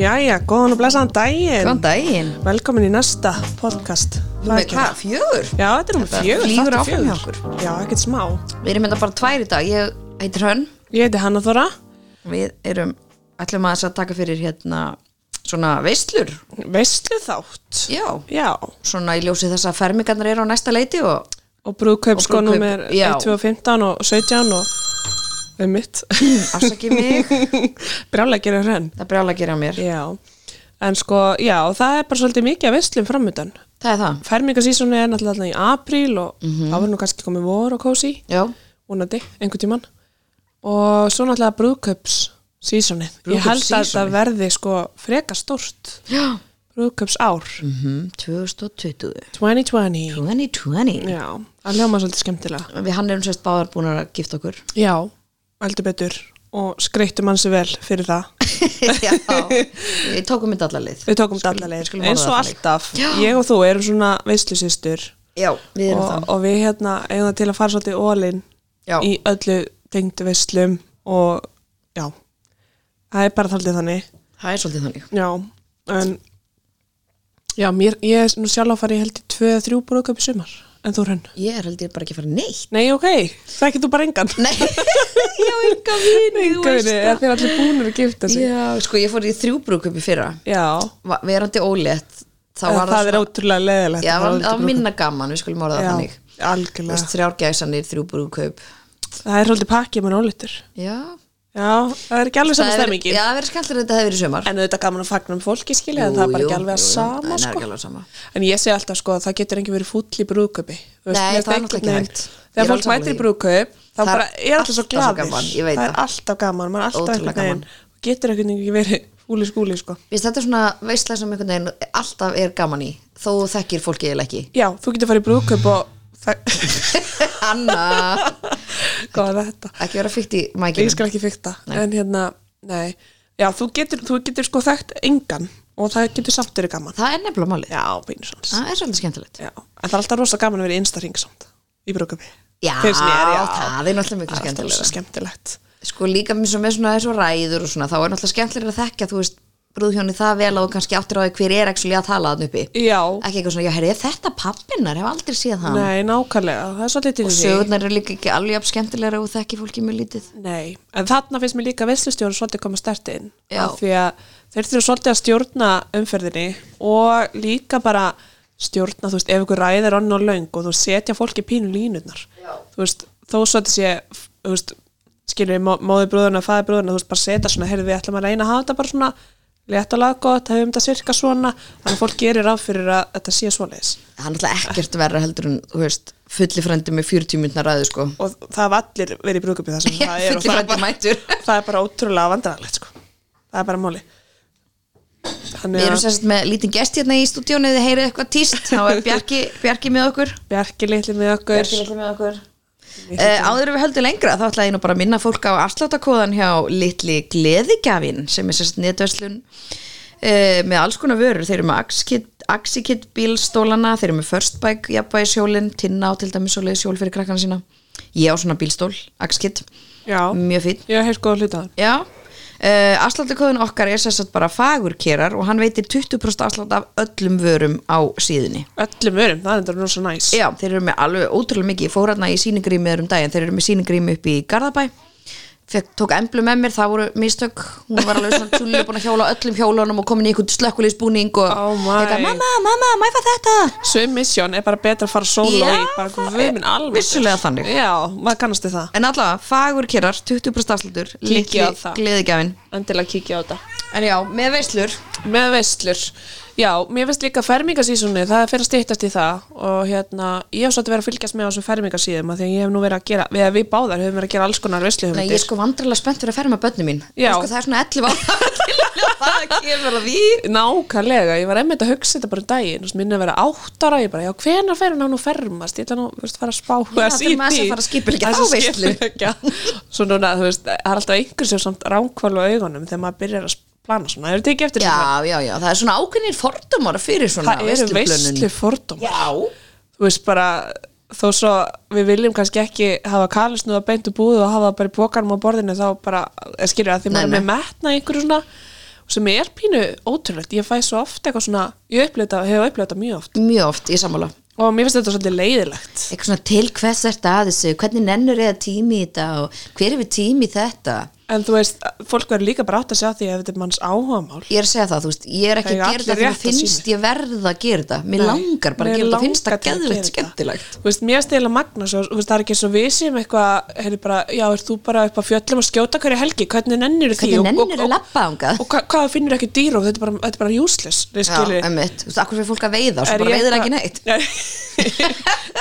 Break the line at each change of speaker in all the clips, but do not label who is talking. Jæja, góðan og blessaðan daginn
Góðan daginn
Velkomin í næsta podcast
Með
Hlaðkjarp.
hvað, fjögur?
Já, þetta er um
Þetta
fjögur
flýgur
þáttur
áfram hjá
fjögur.
okkur.
Já, ekkert smá
Við erum þetta bara tvær í dag Ég heitir Hönn
Ég heiti Hanna Þóra
Við erum, ætlum að þess að taka fyrir hérna Svona veislur
Veistlu þátt
Já
Já,
Svona í ljósi þess að fermingarnar eru á næsta leiti og
og brúðkaup
Og
sko
brúðkaup,
nummer
já.
1, 2, 15 og 17 og um mitt
afsaki mig
Brjála að gera hrenn
Það brjála að gera á mér
Já, en sko, já, það er bara svolítið mikið að veistlum framöndan
Það er það
Fermingasísoni er náttúrulega þarna í apríl og mm
Mhm.
-hmm. áður nú kannski komið vor og kósi
Já
vonandi, einhvern tíman og svo náttúrulega brúðköps sísonið, ég held að þetta
Brúðkaupssísonið.
verði sko freka stórt
Já
brúðköps ár,
mm -hmm. 2020
2020
2020
já, það hljóma svolítið skemmtilega
Við hann erum sérst báðar búin að gifta okkur
já, heldur betur og skreittum hansi vel fyrir það
Já Við tókum þetta allar lið
við tókum
Skulum-
dallalegir,
skulum
eins
orða
og
það þannig.
alltaf
Já.
ég og þú erum svona veislusýstur
Já, við erum
og, og við hérna eigum það til að fara svolítið ólinn
Já.
í öllu tengdu veislum og já það er bara þaldið þannig
það Það er svolítið þannig
Já, en Já, mér, ég er nú sjálf að fara í held í tvö eða þrjú brúðkaup í sumar En þú hrönn
Ég er held ég bara ekki að fara neitt
Nei, ok, þekkir þú bara engan
Nei, já, enga vini, þú
Gauri,
veist
er
það.
þeir allir búnir að gifta sig
Já, sko, ég fór í þrjú brúðkaup í fyrra,
Já,
Va- verandi ólétt, þá
en
var
það er ótrúlega leðilegt
já, var- það var minna gaman, við skulum orða það þannig. Þú
algjörlega
veist, þrjár gæsanir, þrjú brúðkaup.
Það er svolítið pakkið með ólítur
Já.
Já, það er ekki alveg saman
Það hefur-
stemmingin
Já, það verið skemmtilega þetta hefur verið í sumar.
En auðvitað gaman að fagna um fólki skilja En það er bara ekki alveg að sama
Það er
sko.
ekki alveg sama.
En ég segi alltaf sko að það getur engin verið fúll í brúðkaupi Þú veist,
Nei,
mér
það
einhvern
er náttúrulega ekki
veginn-
hægt. Ég er
Þegar fólk
alveg
mætir
sammála
í
því.
brúðkaup þá
Það er
bara er alltaf svo
alltaf svo
glaðir
gaman, ég veit
Það er
það.
alltaf gaman, maður er alltaf einhvern
Ótrúlega
veginn
gaman.
Getur einhvern veginn ekki verið fúli skúli sko
Vist, þetta er svona veistlega sem einhvern veginn alltaf er gaman í, þó þú þekkir fólki eða ekki.
Já, þú getur farið í brúðkaup og það,
Anna,
hvað er þetta?
ekki vera fyrkt í
Ég
mækinu.
skal ekki fykta, en hérna, nei Já, þú getur, þú getur sko þekkt engan og það getur samt verið gaman
Það er nefnilega málið.
Já, pínu svona
Það er svolítið skemmtilegt.
Já, en það er alltaf rosa gaman að vera í instaring samt í brúðkaupi
Já,
Finnst mér, já.
það er náttúrulega miklu
Það er alltaf
skemmtilega.
rosa skemmtilegt
sko líka eins og með svona þessu ræður og svona þá er náttúrulega skemmtilega að þekka þú veist brúðhjóni það vel og kannski áttir á því hver er actually að tala þann uppi
Já,
ekki eitthvað svona, já herri, er þetta pappinnar, hef aldrei séð hann
Nei, nákvæmlega, það er svolítið til
og
því
sögurnar eru líka ekki alveg jafn skemmtilega og þekki fólki mjög lítið
Nei, en þarna finnst mér líka veslustjóru svolítið koma stert inn
Já.
af því að þeir þurfum svolítið að stjórna umferðinni og líka bara stjórna, þú veist, ef ykkur ræðir onn og löng og þú setja fólki pínu línurnar Já. þú veist, þó svolítið sé þú veist, skilur við móði brúðuna fæði brúðuna, þú veist, bara setja svona, heyrðu við ætlum að reyna að hafa þetta bara svona létt og laggott, hefum þetta sirka svona þannig að fólk gerir af fyrir að þetta sé svoleiðis
það er náttúrulega ekkert verra heldur en þú veist, fulli frendi með 40 minna ræðu sko
og það hafa allir verið í brúðköpi þar sem
Já,
það er og
fullir
það er,
frændi mætur.
bara, það er bara ótrúlega vandrarlegt sko. það er bara móli
við
þannig
erum
að
sérst með lítinn gest hérna í stúdíónu þið heyrið eitthvað tíst, þá er Bjarki, Bjarki með okkur
Bjarki litli með okkur
Bjarki litli með okkur Uh, áður en við höldum lengra þá ætlaði ég nú bara að minna fólk á afsláttakóðan hjá litli gleðigjafin sem er sérst netverslun uh, með alls konar vörur, þeir eru með Axikit, Axikit bílstólana, þeir eru með First Bike, jafnbæðisjólin, Tinna á til dæmis og leiðisjól fyrir krakkana sína ég á svona bílstól, Axikit
já,
mjög fýtt
ég hef heilt góða hluta
Já, uh, afsláttakóðin okkar er sérst bara fagurkerar og hann veitir 20% afslátt af öllum vörum á síðunni
öllum örum, það er þetta nú svo næs
Já, þeir eru með alveg ótrúlega mikið Ég fór hérna í síningrými um daginn Þeir eru með síningrými upp í Garðabæ Fekk, Tók emblu með mér, það voru mistök Hún var alveg svona tjúlu búin að hjála á öllum hjólunum Og komin í einhvern slökkulisbúning og
Oh my.
eitthvað, Mamma, mamma, má ég fá þetta
Sum mission er bara betra að fara sóla
Já,
í bara
það
guð
er
minn alveg
vissulega þannig.
já, maður kannast við það
En allavega, fagur kerar, 20% afslutur
Kíkið
Litli
á það.
gleðigjafin
endilega kíkja á þetta
En já, með veislur
með veislur já, mér finnst líka fermingasísunni það er fyrir að stýttast í það og hérna, ég hef svolítið verið að fylgjast með á þessum fermingasíðum af því að ég hef nú verið að gera, við, við báðar höfum verið að gera alls konar
Nei, ég
veisluhumdir
er sko vandrarlega spennt fyrir að ferma bönni mín
Já.
sko, Það er svona 11 ára Það kemur að því
nákvæmlega, ég var einmitt að hugsa þetta bara um daginn, og minna að vera átt ára ég bara, já, hvenar fer hún á nú fermast ég ætla nú, þú veist, fara að spá
Já,
að
þurfum
sí því.
aðeins að fara að skipuleggja
Aðeins
þá veislu.
skipuleggja. svo núna, þú veist, það er alltaf einhver sem samt ránkvælu á augunum þegar maður byrjar að plana svona, hefur tekið eftir þessu?
Já, já, já, það er svona ákveðnir fordómar fyrir svona
það eru
veisluplönun.
veislu fordómar
Já,
þú veist bara þó svo við viljum kannski ekki hafa kalisnúða beint úr búðu og hafa það bara í bókanum á borðinu þá bara, eh, skilur að því maður
Nei,
er með metna í einhverju svona sem er pínu ótrúlegt, ég fæ svo oft eitthvað svona, ég upplifta, hefur upplifta mjög oft
mjög oft í sammála
og mér finnst þetta svolítið leiðilegt
eitthvað svona til hvers er þetta að þessu hvernig nennur eða tími í þetta og hver hefur tími í þetta
en þú veist, fólk verður líka bara átt að sjá því ef þetta er manns áhugamál
ég er að segja það, þú veist, ég er ekki
Það
að
eiga
gera
allir
þetta þegar
rétt á
finnst ég verð að gera þetta mér langar bara að gera þetta, finnst það geðveikt skemmtilegt
þú veist, mér stila magna svo, þú veist, það er ekki svo við sem eitthvað, heyrðu bara, já, er þú bara upp á fjöllum að skjóta hverju helgi, hvernig nennir því
Hvernig
Og- og-
nennirðu
og-
labba þangað?
og hva, hvað finnur ekki dýr og þetta er bara, þetta er bara useless þið
Já,
skilið.
emmitt, þú veist, akkur fyrir fólk að veiða og svo
Er
bara
ég
veiðir
eitthvað-
ekki neitt
Nei.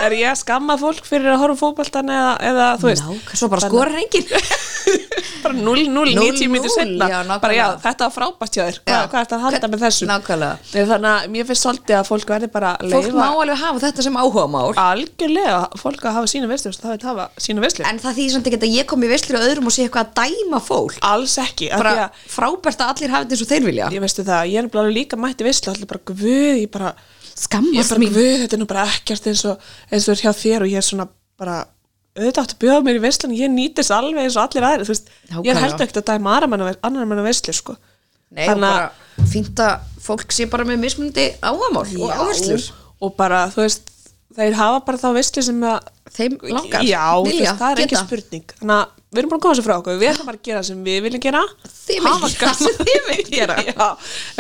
er ég að skamma fólk fyrir að horfa á fótboltan eða, eða þú veist
Ná, svo bara skorar enginn
bara 0-0
0-0,
90 mínútur setna
já, nákvæmlega.
bara já, þetta var frábært hjá þér Hva,
Já.
hvað er þetta að halda
Hvern-
með þessu
nákvæmlega.
Nei, þannig að mér finnst svolítið að fólk verði bara að
fólk má
leifa
alveg hafa þetta sem áhuga mál
algjörlega fólk að hafa sína veistlur það veit hafa sína veistlur
en það þýðir samt ekki að ég kom í veislu og öðrum og sé eitthvað að dæma fólk
alls ekki af því
bara
að
frábært að allir hafi þetta eins og þeir vilja
ég veistu það, ég er nefnilega alveg líka mætti veistlu allir bara guð, ég bara ég
skammast
bara
mín
guð, þetta er nú bara ekkert eins og eins og er hjá þér og ég er svona bara auðvitað áttu að bjóða mér í veistlun ég nýt þess alveg eins og allir aðri veist, ég
Nákvæmlega.
held ekkert að dæma aðra manna annar manna veistlu sko.
Nei, og bara fínt að fólk sé bara með mismunandi áhugamál og áherslur
og bara þú veist þeir hafa bara þá veistlu sem að
þeim langar
já, þú
vilja,
veist, það er ekki
geta.
spurning þannig að við erum bara að koma þessu frá okkur við ætlum bara að gera það sem við viljum gera
Þið viljið
Hafa
gera það sem
gaman.
þið viljið gera.
já,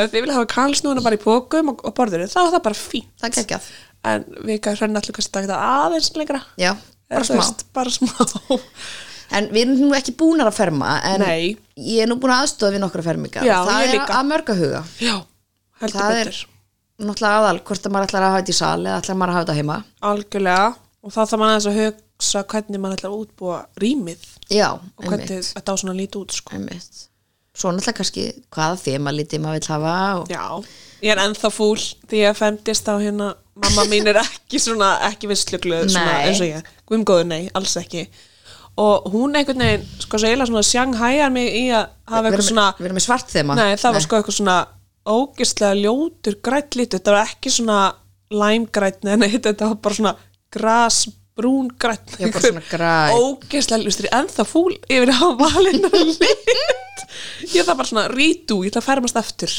ef þið viljum hafa kalsnúna bara í pókum og, og borðuru þá er það bara fínt
það er geggjað
en við hrönn allir kannski taka þetta aðeins lengra
já,
Eða, þú
bara smá
veist, bara smá
en við erum nú ekki búnar að ferma en
Nei.
ég er nú búin að aðstofa við nokkra fermingar
Já,
það
ég
er
líka.
að mörga huga
já, heldur
það er
betur
náttúrulega aðal hvort að maður ætlar að hafa þetta í sal eða ætlar maður að hafa þetta heima
algjörlega og þá þarf mann aðeins að hugsa hvernig mann ætlar að útbúa rýmið
já,
og hvernig þetta á svona lítið út sko.
einmitt svo náttúrulega kannski hvaða þema lítið maður vil hafa og...
Já, ég er ennþá fúl því ég femdist á hérna mamma mín er ekki svona, ekki visslugluð svona,
Nei.
eins og ég, guðmgóður nei, alls ekki og hún einhvern veginn sko svo eiginlega svona sjanghæjar mig í að hafa
við,
eitthvað
erum,
svona,
við erum með svart þema
nei það var sko eitthvað svona ógeðslega ljótur grætt litur, þetta var ekki svona læmgrætt, nei, nei, þetta var bara svona grasbrún grætt
Já, bara svona grænn.
ógeðslega, þú veist, ég er ennþá fúl yfir að hafa valinu lit ég þarf bara svona rítú, ég ætla að fermast aftur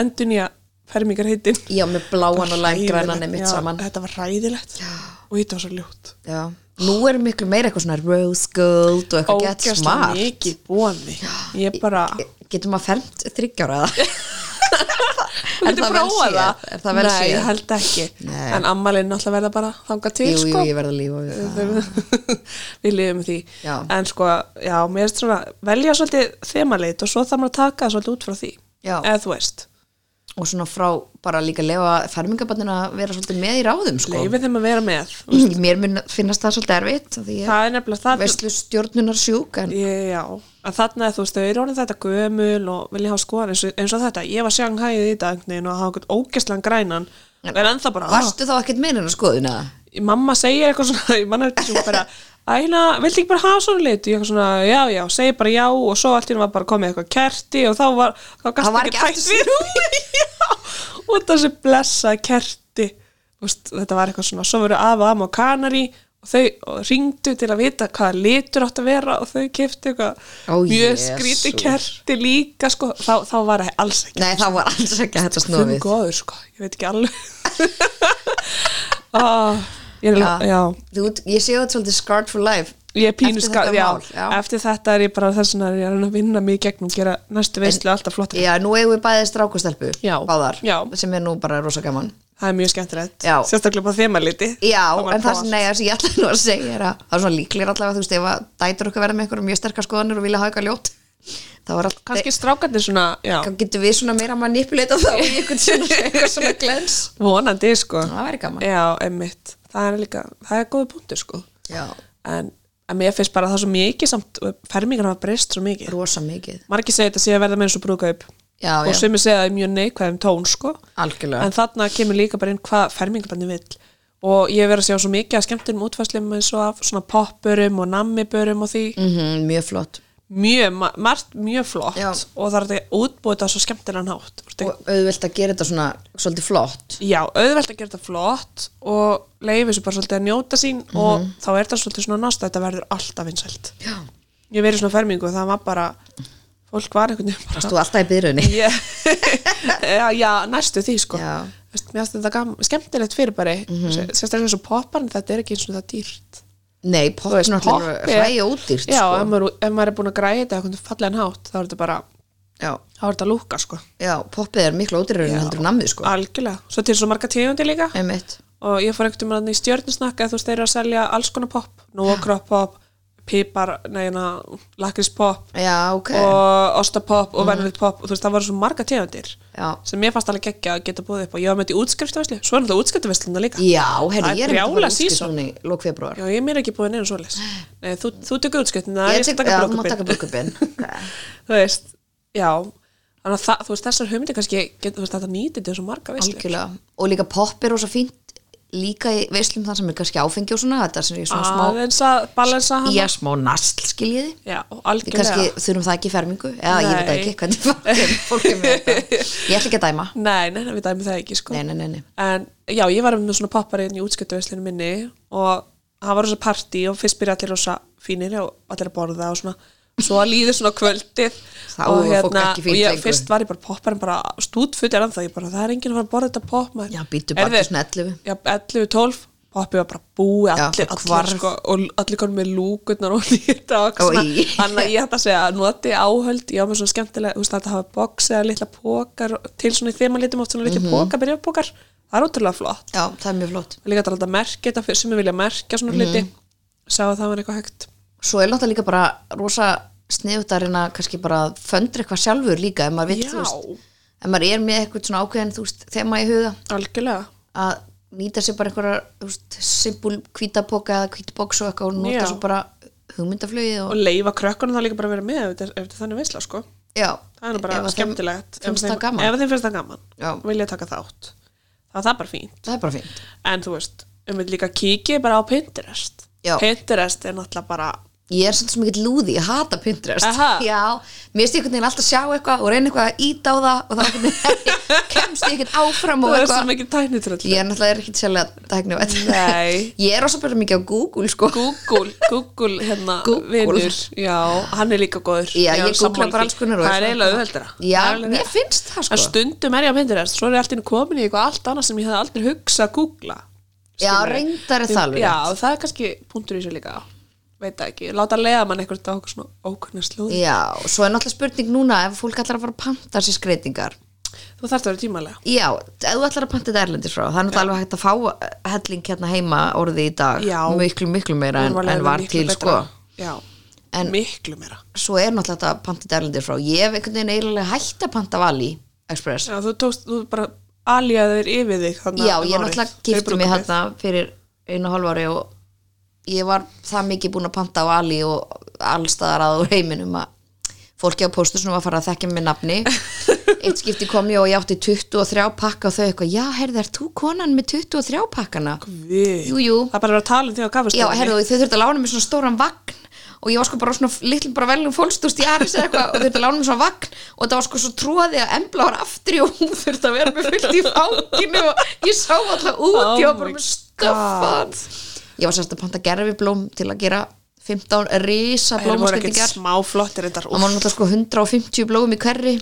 endur nýja fermingar heitin
já, með bláan og læmgrænan er mitt saman
þetta var ræðilegt já. og þetta var svo ljótt
Já, nú er miklu meira eitthvað svona rose gold og eitthvað gett
ógeðslega
smart
mikið bóði ég bara
Getur maður fermt þryggjára það?
Þú
er
myndir
það vel
prófa
séð?
það?
Er það vel
Nei,
séð?
ég held ekki
Nei.
En ammalinn náttúrulega verða bara þangað til
Jú, jú,
sko.
ég verð að lífa við það
Við lifum því
Já.
En sko, já, mér er svona Velja svolítið þemalit og svo þarf maður að taka það svolítið út frá því
Já.
Eða þú veist,
Og svona frá bara líka lefa fermingabandin að vera svolítið með í ráðum sko.
leifið þeim að vera með
Mér mun finnast það svolítið erfitt af Því ég
Það er nefnilega það
veistlu stjórnunar sjúk en
Ég- Já, að þarna er þú veist, þau eru orðin þetta gömul og vilja hafa skoðan eins, og- eins og þetta, ég var sjanghæðið í dag einhvern veginn og hafa einhvern ógæslan grænan en ennþá bara, "Ah,
Varstu þá ekkert meira en að skoðuna?
mamma segir eitthvað svona ég manna eftir sem bara æna, viltu ekki bara hafa svona lit ég eitthvað svona, já, já, segi bara já og svo allt í hérna var bara komið eitthvað kerti og þá var þá gast
Það var ekki aftur
við já, og þessi blessað kerti Úst, þetta var eitthvað svona, svo voru afa, amma og kanari og þau og ringdu til að vita hvaða litur átt að vera og þau kefti eitthvað
Ó,
mjög
Jesús.
skríti kerti líka sko, þá, þá var það alls ekki
Nei, það var alls ekki að þetta
Guð minn
snofið
góður sko, ég veit ekki alveg ah, ég, já. já,
Þú, Ég sé þetta svolítið scarred for life
ég er pínu
Eftir
ska,
þetta
já,
mál, já.
eftir þetta er ég bara þess vegna er ég að reyna að vinna mig í gegnum gera næstu veistlu alltaf flott
Já, nú eigum við bæðið strákustelpu
Já.
Báðar,
Já.
sem er nú bara rosa gaman
það er mjög skemmtilegt,
Já.
sérstaklega bara þema liti
Já,
var
en það
klárt.
sem, nei, það sem ég ætla nú að segja er að það er svona líklir allavega, þú veist, ef að dætur okkur verða með einhverjum mjög sterkar skoðanir og vilja hafa eitthvað ljótt þá er alltaf,
kannski strákarnir svona, já,
kannski getum við svona meira að manipuleita þá í einhvern svona, eitthvað svona glens
vonandi sko
Það væri gaman
já, emmitt, það er líka það er góða punktur sko
Já,
en, en mér finnst bara það svo mikið samt, fermingar hafa breyst svo mikið
rosa mikið
margir segja þetta sé að verða með eins og brúkaup
Já,
og
já.
sumir segja það í mjög neikvæðum tón sko
Algjörlega
en þarna kemur líka bara inn hvað fermingabandi vill og ég hef verið að sjá svo mikið að skemmtunum útfæslum eins og af svona poppurum og nammibörum og því
mm Mjög flott
mjög, ma- margt mjög flott
Já.
og það er þetta útbúið þetta á svo skemmtilegan hátt Þú ert ekki-
og auðvelt að gera þetta svona svolítið flott
já, auðvelt að gera þetta flott og leiði þessu bara svolítið að njóta sín
Mhm.
og þá er þetta svolítið svona nást að þetta verður alltaf vinsælt
Já
ég hef verið í svona fermingu og það var bara fólk var einhvern veginn bara
Varst þú alltaf í byrjunni?
Ég- já, já, næstu því sko
Já. Mhm.
Vist, mér finnst þetta gam, skemmtilegt fyrirbæri mm -hmm. sérstaklega eins og popparn þetta er ekki eins og það dýrt
Nei, popp er náttúrulega
popp er-
hræja ódýrt
já,
sko.
ef, maður, ef maður er búin að græja þetta eitthvað fallegin hátt, þá er þetta bara
já,
þá er þetta lúka sko,
já, poppið er miklu ódýrurinn heldur en nammið
Ah.
sko
algjörlega svo til svo marga tíðundi líka
Einmitt.
og ég fór einhvern veginn í stjörnusnakka þú veist þeir eru að selja alls konar popp nógróp popp, pípar, neina lakris popp
Já, ok
og ostapopp og vennileg popp og þú veist það voru svo marga tegundir
Já.
sem mér fannst alveg geggja að geta búið upp og ég var með þetta í útskriftaveslu, svo er náttúrulega útskriftaveslunar líka
Já,
Það
herri,
er
ég er
brjála
útskrift
season.
núna í lók februar
Já, ég er mér ekki búið neina svoleiðis Nei, þú, þú tekur útskriftina, ég,
Ég
ég
tek-
skal taka
já, þú mátt taka
blokkupinn
brúkupinn
Þú veist, já Þannig að það, þú veist, þessar hugmyndir kannski get, þú veist, þetta nýtir til svo marga veislu
Algjörlega Og líka popp er ósa fínt Líka í veislum það sem er kannski áfengi og svona Þetta sem er
Ah,
svona smá
aðeins að balansa hann
Já, smá nasl skiljiði
já og
Við
algjörlega
kannski þurfum það ekki í fermingu Eða ég veit
Nei.
ekki hvernig fólk er- fólk er með þetta Ég ætla ekki að dæma
Nei, nei, nei, við dæmum það ekki, sko
Nei, nei, nei, nei
En já, ég var með svona poppari inn í útskjöptuveslinu minni og það var rosa partí og fyrst byrja allir rosa fínir og allir að borða og svona svo líður svona kvöldið
Þá
og, hérna,
var fólk ekki fínt
og ég,
lengur.
fyrst var ég bara popparinn bara stútfullir en það, ég bara það er enginn að fara að borða þetta popp maður."
Já, býttu bara
Heyrðu,
til svona 11.
Já, 11, 12, poppið var bara búið
Já,
allir,
það
allir
hvarf.
sko og allir konum með lúkurnar og nýta og
Og
svona,
í.
þannig að ég hætti að segja að noti áhöld, ég á með svona skemmtilega þú veist, þetta hafa box eða litla pókar til svona í þeim að litum oft svona litla
Mhm.
mm -hmm. pókar, það er ótrúlega flott
Já, það er mjög flott
líka þetta er alltaf merkja þetta fyrir sem við vilja merkja
Mhm.
svona hluti sá að það var eitthvað hægt
Svo er náttúrulega líka bara rosa sniðut að reyna kannski bara að föndra eitthvað sjálfur líka ef maður vill,
Já.
þú veist, ef maður er með eitthvað svona ákveðin, þú veist, þema í huga
algjörlega,
að nýta sér bara einhverja, þú veist, simpul hvítapoka eða hvítboks og eitthvað og nota
Já.
svo bara hugmyndaflögi og,
og leifa krökkunum það líka bara að vera með ef þetta er, ef þetta er þannig veisla sko
já,
það er nú bara
ef að þeim-
skemmtilegt ef
finnst
þeim-
það gaman.
ef þeim finnst það gaman,
Já.
vilja taka þátt það er það bara fín,
það er bara fínt
en þú veist um við líka kíkið bara á Pinterest
Já.
Pinterest er náttúrulega bara
ég er svolítið sem ekki lúði, ég hata Pinterest
Aha.
já, mér stið einhvern veginn alltaf að sjá eitthvað og reyna eitthvað að íta á það og þá einhvern veginn kemst ég ekkert áfram og
það er svo
eitthvað
mikið tæknitröll
ég er náttúrulega ekki sérlega tæknivætt
Nei.
ég er ósað bara mikið á Google sko
Google, Google hérna
Google.
vinur, já, hann er líka góður
Já, ég googla
sammála
bara
því.
alls konar
Það
og er
er
svona-
eiginlega auðveldara
Já,
Það er alveg
mér
rétt.
finnst það, sko.
En stundum er ég á Pinterest, svo er ég allt inn komin í eitthvað allt annað sem ég hefði aldrei hugsað að googla
Já,
Skilurðu?
reyndar er það alveg
Já,
rétt.
og það er kannski punktur í þessu líka Veit það ekki, láta leiða mann eitthvað á okkur svona ókunnir slúð
já, og svo er náttúrulega spurning núna ef fólk ætlar að fara að panta sér skreitingar
Þú þarft að vera tímalega
já, ef þú ætlar að panta þetta erlendis frá það er náttúrulega alveg hægt að fá eh, helling hérna heima orði í dag,
Já.
miklu miklu meira en,
Hún leiðin
en var
miklu
til sko
betra. Já,
En-
miklu meira
svo er náttúrulega þetta að panta þetta erlendis frá ég hef einhvern veginn eiginlega hægt að panta vali express,
Já, þú tókst, þú bara aljaði þér yfir þig þarna
já,
um
ég
árið.
náttúrulega
Fyrir
gifti mig
brúðkaupið.
hérna fyrir einu og hálf ári og ég var það mikið búin að panta á Ali og allstaðar að úr heiminum að fólki á póstusnum að fara að þekkja með nafni eitt skipti kom ég og ég átti 23 pakka og þau eitthvað, já herði, er þú konan með 23 pakkana?
Við.
Jú, jú.
Það er bara að vera að tala um því á
Já,
kaffestofunni
herðu, þau þurftu að lána mér svona stóran vagn og ég var sko bara á svona litlu bara veljum fólstúst í Aris eða eitthvað og þurftu að lána mér svona vagn og það var sko svo tróði að embla var aftur í og hún þurftu að vera með fullt í fanginu og ég sá alltaf út
Oh
ég var
my
bara með stöffan Ég var sérst að panta gerfiblóm til að gera 15 risa
Þeir voru ekkert
blómaskendingar
smá flottir þetta
og maður náttúrulega sko 150 blóm í hverri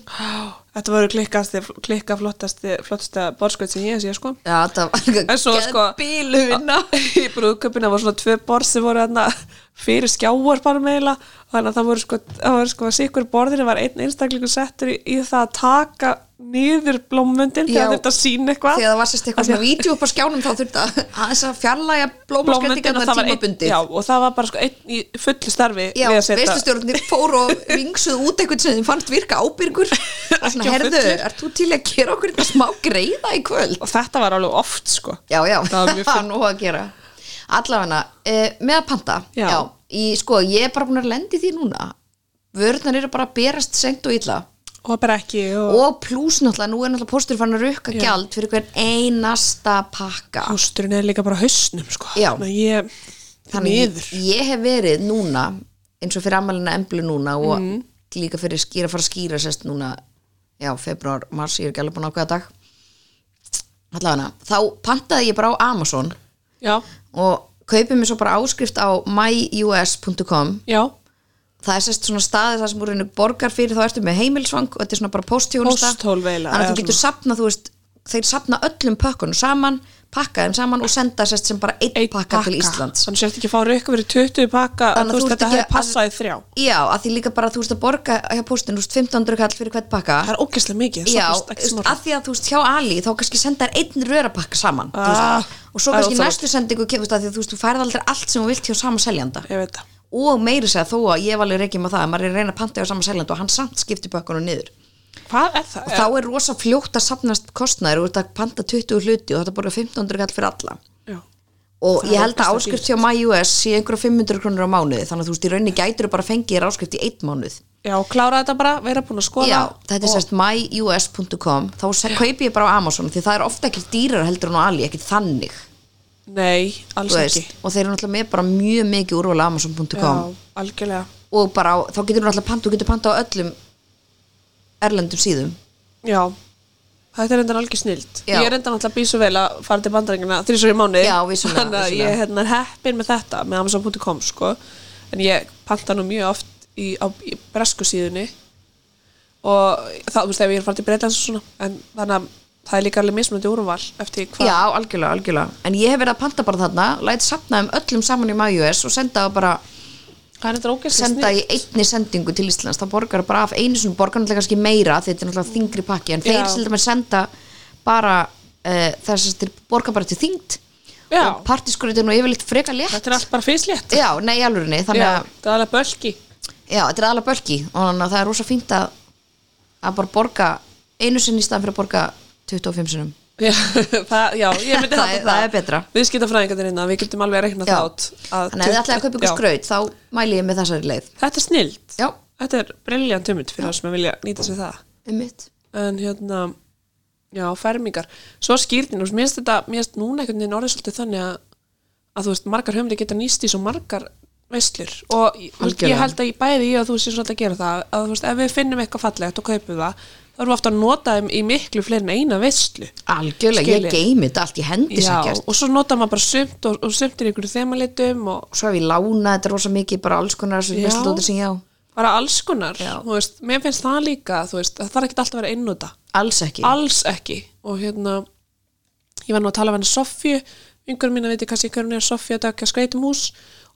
Þetta voru klikkast, klikka flottast flottasta borskveit sem ég sé sko
Já, það var
En svo sko
bílu vinna
Í brúðköpina var svona tvö borð sem voru þarna fyrir skjáar bara meila þannig að það voru sko, það voru sko að sikkur borðinu var einn einstaklingur settur í, í það að taka niður blómvöndin
Já.
þegar þetta sín eitthvað
Þegar það var sérst eitthvað svona vídeo upp á skjánum þá þurfti að aðeins að fjarlæga blómaskendingarna
það var einn,
tímabundið
já, og það var bara sko einn í fullu starfi
Já,
við að setja-
veistustjórnir fór og ringsuð út eitthvað sem þeim fannst virka ábyrgur og
Ekki
svona,
á
herðu,
fullu.
er þú til í að gera okkur þetta smá greiða í kvöld?
og þetta var alveg oft sko
Já, já,
Það var mjög fyndið.
nú að gera Allafana, uh, með að panta
Já.
í, sko, ég er bara búin að lendi því núna Vörðnar eru bara að berast seint og illa
og bara ekki og,
og pluss náttúrulega, nú er náttúrulega postur fann að rukka gjald fyrir hvern einasta pakka
Pósturinn er líka bara á hausnum sko
Já.
Þannig að ég,
Þannig
niður
ég, ég hef verið núna eins og fyrir ammælina emblu núna og
Mhm.
líka fyrir skýra fara að skýra sérst núna, já, februar, mars ég er ekki alveg búin að ákveða dag allavega, þá pantaði ég bara á Amazon
Já,
og kaupið mér svo bara áskrift á myus.com
já
það er sérst svona staði það sem úr einu borgar fyrir þá ertu með heimilsvang og þetta er svona bara postjónusta
Pósthólf eiginlega,
þannig að
eða
þú getur sapna, þú veist þeir sapna öllum pökkunum saman pakka þeim saman og senda sérst sem bara einn
Einn
pakka, til Íslands
þannig sért ekki að fá rauka verið 20 pakka
Þannig að
þannig
þú
að
ert
þetta
ekki
hefði
að-
passað í þrjá
Já, að því líka bara þú veist að borga hjá póstinu, þú veist 1500 kall fyrir hvert pakka
það er ógeðslega mikið
Já,
safnast
þú
ekki
veist,
svona-
að því að þú veist hjá Ali þá kannski sendar einn rörapakka saman þú
Ah,
veist, og svo
það er
kannski
óþolandi.
næstu sendingu kemur þú veist, að því að þú veist, þú færð aldrei allt sem þú vilt hjá sama seljanda
ég veit það
og meiri segja þó að ég vali reykjum að það að maður er að reyna að panta hjá sama seljanda og hann samt skiptir bökkunum niður
hvað er það?
og þá er rosa fljótt að sapnast kostnæður og þetta panta 20 hluti og þetta borga 1500 kall fyrir alla
Já.
og
Það
ég
er
held
ógeðslega
að áskrift hjá MyUS sé einhverja 500 krónur á mánuði þannig að þú veist í rauninni gætur bara að fengi þér áskrift í eitt mánuð
já, klára þetta bara, vera búin að skoða
Já, þetta er
og-
sérst myus.com þá se- kaupi ég bara á Amazon því það er ofta ekkert dýrar heldur en á Ali, ekkert þannig
nei,
þú
alls
veist,
ekki
og þeir eru náttúrulega með bara mjög mikið úrvala Amazon.com
já, algjörlega
og bara á, þá getur þú náttúrulega panta, þú getur panta á öllum erlendum síðum
já Þetta er endan algjör snild.
Já.
Ég er endan alltaf býð svo vel að fara til bandaringina þrísur í mánu.
Já, vissulega,
Þannig að
vissulega.
ég hérna, er heppin með þetta, með Amazon.com, sko. En ég panta nú mjög oft í, á, í bresku síðunni og þá, þú veist, ef ég er að fara til Breitlands og svona. En þannig að það er líka alveg mismunandi úrval eftir hvað.
Já, algjörlega, algjörlega en ég hef verið að panta bara þarna, læt sapna um öllum saman í MyUS og senda það bara
Það er endan ógæst
senda í einni sendingu til Íslands þá borgar bara af einu svona borgar náttúrulega kannski meira því þetta er náttúrulega þingri pakki en þeir
Já.
sem þeir senda bara uh, þess að þeir borgar bara til þingt
Já.
og partískurinn er nú yfirleitt freka létt
Þetta er allt bara fyslétt.
já, nei, í alvörinni, þannig
Já,
að
það er alveg bölki.
já, þetta er aðalega bölki og þannig að það er rosa fínt að að bara borga einu sinni í staðan fyrir að borga 25 sinum
Já, það, já, ég myndi
Það
halda
er- það er betra.
Viðskiptafræðingarnir hérna, við getum alveg að reikna
já,
það át. að
þannig að þið ætlaði að kaupa ykkur
Já.
skraut þá mæli ég með þessari leið
Þetta er snilt.
já,
Þetta er briljant hugmynd fyrir það sem vilja nýta sér það.
um mitt
En hérna, já, fermingar. Svo skýrnin, og mér finnst þetta, mér finnst núna einhvern veginn orðið svolítið þannig að, að þú veist, margar höfumri geta nýst í svo margar veislur og ég, þú veist,
Algjörlega.
ég held að ég bæði í að þú sé svolítið að gera það, að þú veist, ef við finnum eitthvað fallegt og kaupum það, þá erum við ofta að nota þeim í miklu fleiri en eina veislu.
algjörlega,
Skilin.
ég geymi þetta allt, ég hendi þess
Já,
ekkert
og svo nota maður bara sumt og, og sumt er í einhverju þemalitum og
og svo hef ég lánað þetta rosa mikið bara alls konar þessu
Já.
veistlóti sem ég á
bara alls konar,
Já.
þú veist, mér finnst það líka, þú veist, það þarf ekkert alltaf að vera einnota.
alls ekki
alls ekki og hérna ég var nú að tala við hann Sofju yngur mín að viti kannski hvernig er Sofju að dækja skreitum hús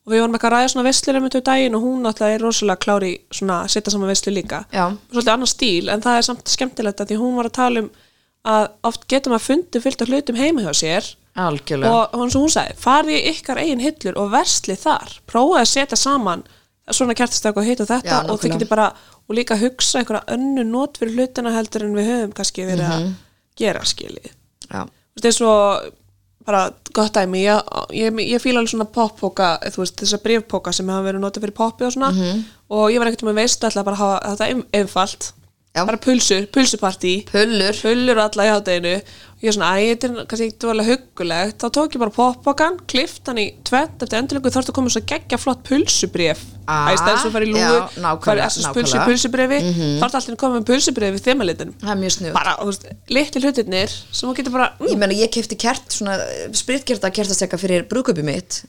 og við vorum ekki að ræða svona veslur um þetta daginn og hún alltaf er rosalega klári svona að setja saman veslu líka
Já.
svolítið annar stíl en það er samt skemmtilegt að því hún var að tala um að oft getur maður fundið fyllt af hlutum heima hjá sér
algjörlega
og hún sem hún sagði, farið í ykkar eigin hillur og verslið þar, prófaði að setja saman svona kertastak og hitt og þetta
Já,
og þið
nákvæmlega.
getið bara, og líka hugsa einhverja önnu not fyrir hlutina heldur en við höfum kannski verið
Mhm.
að gera skilið
já.
þú veist, eins og bara gott dæmi, ég, ég, ég fíla alveg svona poppoka, þú veist, þessa bréfpoka sem hafa verið notað fyrir poppi og svona
Mhm.
og ég var einhvern veginn veist alltaf bara að hafa þetta ein- einfalt,
Já.
bara pulsu pulsupartí,
pullur
hullur alla í hátteginu og ég er svona, æ, þetta er kannski ekki dvalega huggulegt þá tók ég bara poppokan, klift hann í tvett eftir endurlegu þarf að koma svo geggja flott pulsubref
Ah,
að í stæðis að fara í lúgu
já, nákvæmlega,
fara SS pulsu,
nákvæmlega.
pulsubrefi mm -hmm. þarf alltaf að koma með pulsubref við þemalitin
það er mjög snöð
bara, þú veist, litli hlutirnir sem hún getur bara,
ég
mm,
meina ég kefti kert svona eh, spritkerta kertastekka fyrir brúköpi mitt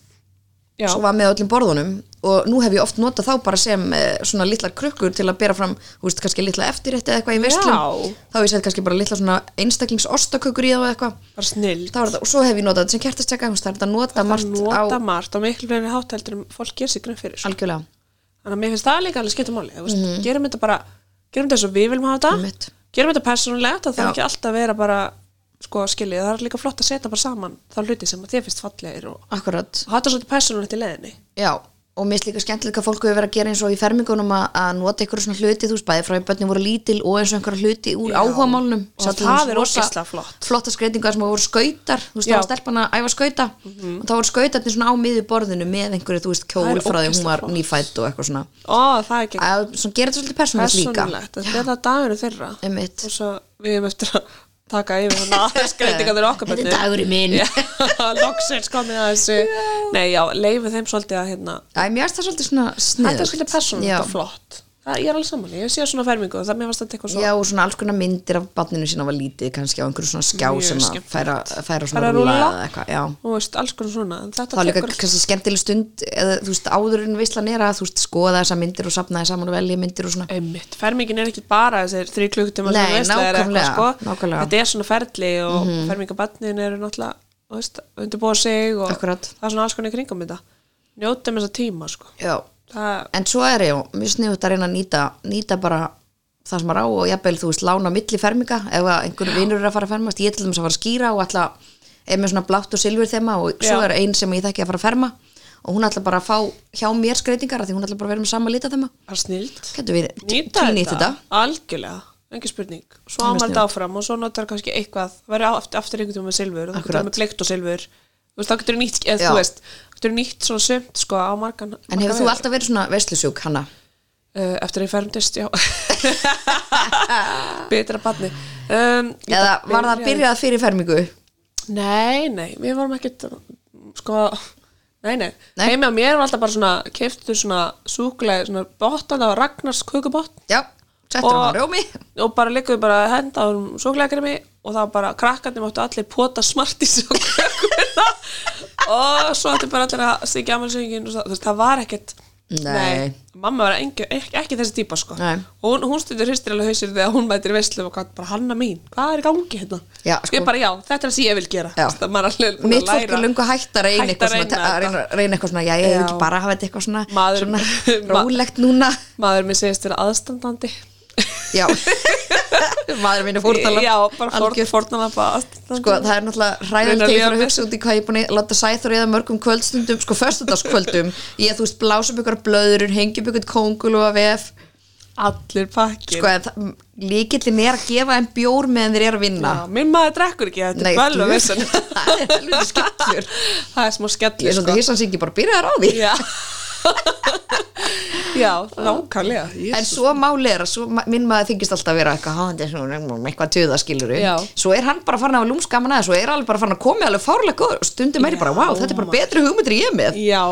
já,
svo var með öllum borðunum og nú hef ég oft notað þá bara sem eh, svona litlar krukkur til að bera fram, þú veist, kannski litla eftirrétti eða eitthvað í
Já.
veislum þá hef ég sett kannski bara litla svona einstaklingsostakökur í það og eitthvað
bara snill
Þá er þetta- og svo hef ég notað þetta sem kertastekka þú veist, það er þetta nota margt á
nota margt og miklu fleiri hátældur en fólk ger sér grunn fyrir sko.
algjörlega
þannig að mér finnst það líka alveg skipta máli þú veist, gerum þetta bara, gerum þetta svo við viljum hafa þetta
Mhm. Einmitt.
gerum þetta persónulegt það þarf
Já.
ekki alltaf að vera bara sko skiljið, það er líka flott að setja bara saman þá hluti sem að þér finnst fallegir og
akkurat
og hafa þetta svolítið persónulegt í leiðinni
Já, og mér finnst líka skemmtilegt hvað fólk hefur verið að gera eins og í fermingunum að, að nota einhverju svona hluti, þú veist, bæði frá að börnin voru lítil og eins og einhverju hluti úr áhugamálnum
og
Sá til
það
dæmis
er
rosa
ógeðslega flott.
Flotta skreitingar sem voru skautar, þú veist,
Já. Mhm.
það var stelpan að æfa skauta og þá voru skautarnir svona á miðju borðinu með einhverju, þú veist,
Það er
kjól frá því hún
ógeðslega
var
flott.
nýfætt og eitthvað svona
ó, það er ekki
að svona gera þetta svolítið persónulegt líka
persónulegt þetta er það dagurinn þeirra
Einmitt.
og svo við hefum eftir að taka yfir hann aðeins greitinga þeirra okkar
Þetta er
börnin.
dagurinn minn.
Já, loksins komið að þessu nei já, leifu þeim svolítið að hérna
Æ, mér finnst það svolítið svona
þetta er
sniðugt
svolítið persónulegt
Já.
og flott það, ég er alveg saman, ég sé svona fermingu það mér varst þetta eitthvað svo
Já, og svona alls konar myndir af barninu sína var lítið kannski á einhverju svona skjá
Mjög
sem að
skemmtilegt.
færa, færa
Færa
svona
rúlla.
rúla eða eitthvað, já
þú veist, alls konar svona en
Það
þetta
er líka
tekur
kannski skemmtileg stund eða þú veist áður en veislan er að þú veist skoða þessar myndir og sapna þessar saman og velja myndir og svona
einmitt, fermingin er ekki bara þessir þrjú klukkutíma sem
Nei,
þú veist, það er
nákvæmlega,
eitthvað, sko.
nákvæmlega. Mhm.
þetta er svona ferli og mm eru náttúrulega þú veist, undirbúa sig og
Akkurat.
það er svona alls konar í kringum þetta njótum þessa tíma sko.
Já,
það,
en svo er ég mjög sniðut að reyna að nýta, nýta bara það sem að rá og jafnvel þú veist lána á milli ferminga ef að einhver vinur er að fara að fermast ég er til dæmis að fara að skýra og alltaf er með svona blátt og silfur þema og svo
Já.
er ein sem ég þekki að fara að ferma og hún ætla bara að fá hjá mér skreitingar af því hún ætla bara að vera með sama lita þema
það er snilt
getur við
nýta
tilnýtt þetta
algjörlega, engin spurning svo
Alveg
ámald
snjallt.
áfram og svo notar kannski eitthvað verður aftur, aftur einhvern tíma með silfur og þú
Akkurat.
getur með bleikt og silfur þú veist, þá getur nýtt, eða,
Já.
þú veist, getur nýtt svona sumt sko á margan
en hefur þú
margan veg.
alltaf verið svona veislusjúk hanna
uh, eftir að ég fermdist, já betra barni um, ég
eða
bara
var það að
byrjaði-
byrjað fyrir fermingu
nei, nei, við varum ekkert sko, nei, nei,
Nei.
heimi á mér var alltaf bara svona, keftur svona súkulega, svona bottan á Ragnars kukubott
já, settur
Og-
hann á rjómi
og bara liggum við bara að henda á um súkulegakrimi og það var bara, krakkarnir máttu allir pota smartis og kökumina og svo ættu bara allir að stikja amalsöngin og það, þú veist, það var ekkert
Nei.
mamma var engi, ekki, ekki þessi típa sko
Nei.
og hún, hún stundur hristir alveg hausir þegar hún mætir veistlum og hvað, bara hanna mín, hvað er í gangi hérna
Já,
sko,
sko.
ég bara, já, þetta er það sem ég vil gera
Já.
Þess, maður er alveg búin að
mitt fólk
læra.
er lungu hægt að reyna
Hætt að
eitthvað
reyna
svona, að
þetta.
reyna, reyna eitthvað svona já, ég hef
Já.
ekki bara að hafa þetta eitthvað svona,
Maður-
svona
ma-
rólegt núna
maður minn segist vera aðstandandi
já, maður minn er fórtala
já, bara fórn, fórnalapa aðstandandi
sko, það er náttúrulega
Reyna
hræðandi
að lifa
þegar ég fyrir að
með
hugsa út í hvað ég er búin að láta sæþur eða mörgum kvöldstundum, sko, föstudagskvöldum ég, þú veist, blása upp ykkur blöður hengi upp ykkur kóngul og að vef
allir pakkin
sko, en það- líkillin er að gefa þeim bjór meðan þeir eru að vinna
Já, minn maður drekkur ekki, þetta er bölva
guð.
vissan
Ah. það er alveg skellur
Það er smá
ég
skellir
er svolítið hissan sem ekki bara byrjaðar á því
Já, já nákvæmlega
En svo máli er að svo, ma- minn maður þykist alltaf að vera eitthvað hafandi svona, um eitthvað töða skilur
Já.
svo er hann bara farin að lúmska gaman aðeins og er alveg bara farin að koma alveg fárlega góður og stundum er ég bara,
Já,
vá, þetta er bara
maður.
betri hugmyndir en ég er með
Já,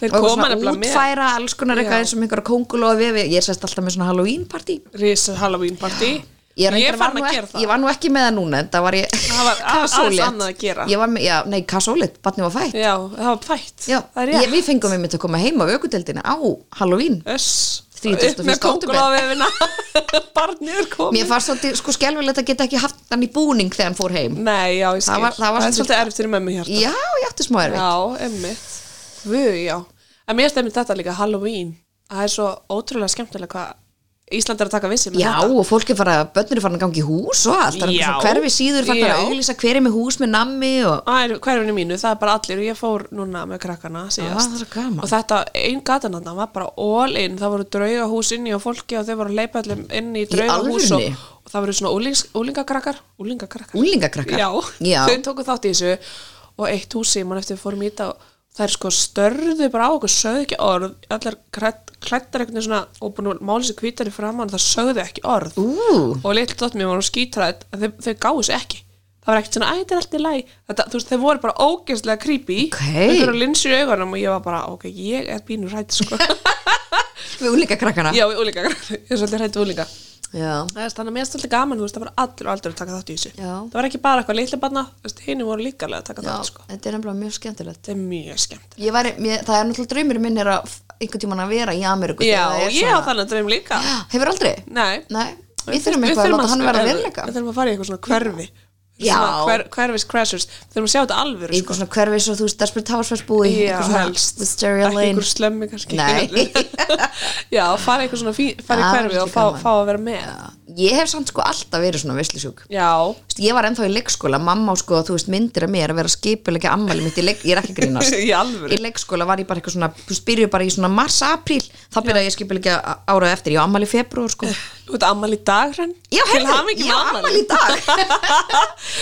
þeir
og
koma
svona
nefnilega með
útfæra alls konar
Já.
eitthvað eins og einhverja kóngulóa vefi ég sest alltaf með svona Halloween party
Risa Halloween party
ég,
Ég
er reyndar var
fann
nú
að
ek-
gera það
ég var nú ekki með það núna en það var ég
Það var a- aðeins annað að gera.
ég var með, já, nei, kasólit, batni var fætt
Já, það var fætt
já,
það er
ég,
rétt
við fengum einmitt að koma heim á aukudeldina á Halloween
Öss,
31.
upp með
október.
kókulofefina Barnið er
mér
komið
fannst svolítið sko skelfilegt að geta ekki haft hann í búning þegar hann fór heim
Nei, já, ég skil
Það var- það var
er
svolítið-
svolítið erfitt fyrir mömmu hérna
Já, ég átti smá erfið
Já, emmitt Vöð, já En mér stefnir þetta líka Halloween Það er svo ótrúlega skemmtilega hvað Ísland er að taka vissi með
Já,
þetta
og fólk er farið að, börnur er farin að gangi í hús og allt, það er
Já.
einhvern hverfi síður farin
Já.
að auglýsa hver er með hús með nammi og
Æ, hverfinu mínu, það er bara allir og ég fór núna með krakkana
Ah,
síðast
það er gaman.
og þetta, einn gatan þarna var bara all in, það voru draugahús inni og fólki og þau voru að leipa allir inn í draugahús og,
alvörunni?
og það voru svona úlings, úlingakrakkar úlingakrakkar,
úlingakrakkar.
já,
Já.
þau tóku þátt í þessu og eitt húsi, mann eftir við fórum í þetta og þær sko störðu bara á okkur sögðu ekki orð, allar klættar einhvern veginn svona og búin að mála sér kvítari framann það sögðu ekki orð
Ú,
og litlu dótt mér var hún skítræð en þau, þau gáðu sér ekki það var ekkert svona, æ, þetta er allt í læg þetta, þú veist, þau voru bara ógeðslega creepy
Ok.
einhverja linsur í augunum og ég var bara, ok, ég er bínur hrætt sko.
við úlingakrakkana.
já, við úlinga, ég er svolítið hrætt við úlinga
Já.
Það er þannig að mér er svolítið gaman, þú veist, það var allir og allir að taka þátt í þessu
Já.
það var ekki bara eitthvað litlu barna, þú veist, hinn voru líka alveg að taka
Já,
þátt, sko
þetta er nefnilega mjög skemmtilegt.
þetta er mjög skemmt
Ég var, mér, það er náttúrulega draumur minn er að f- einhvern tímann að vera í Ameríku.
já,
þegar það er
ég á
svona-
þannig að draum líka
Hefur aldrei?
nei,
Nei, við þurfum eitthvað að láta hann vera að veruleika.
við þurfum að fara í eitthvað svona hverfi
Já.
Svona hver, hverfis crashers, við þurfum að sjá þetta alvöru sko.
Eitthvað svona hverfi svo þú veist, Desperate Housewives búi,
Já,
eitthvað svona
helst.
Wisteria
ekki
Lane.
einhver slömmi kannski
Nei.
já, fara eitthvað svona fí- fara í
Það
hverfi
er
og
ekki
fá,
gaman.
fá að vera með já,
Ég hef samt sko alltaf verið svona veislusjúk. Þú veist, ég var ennþá í leikskóla, mamma á sko, þú veist, myndir að mér að vera skipulegja ammæli mitt í leik, ég er ekki að grínast.
í alvöru
Í leikskóla var ég bara eitthvað svona, þú veist, byrjuð bara í svona mars, apríl, þá byrjaði ég skipulegja árað eftir, ég á ammæli í februar, sko.
Þú veit ammal í dag hrann
Já,
Til
heyrðu,
hamingi
ég á afmæli í dag.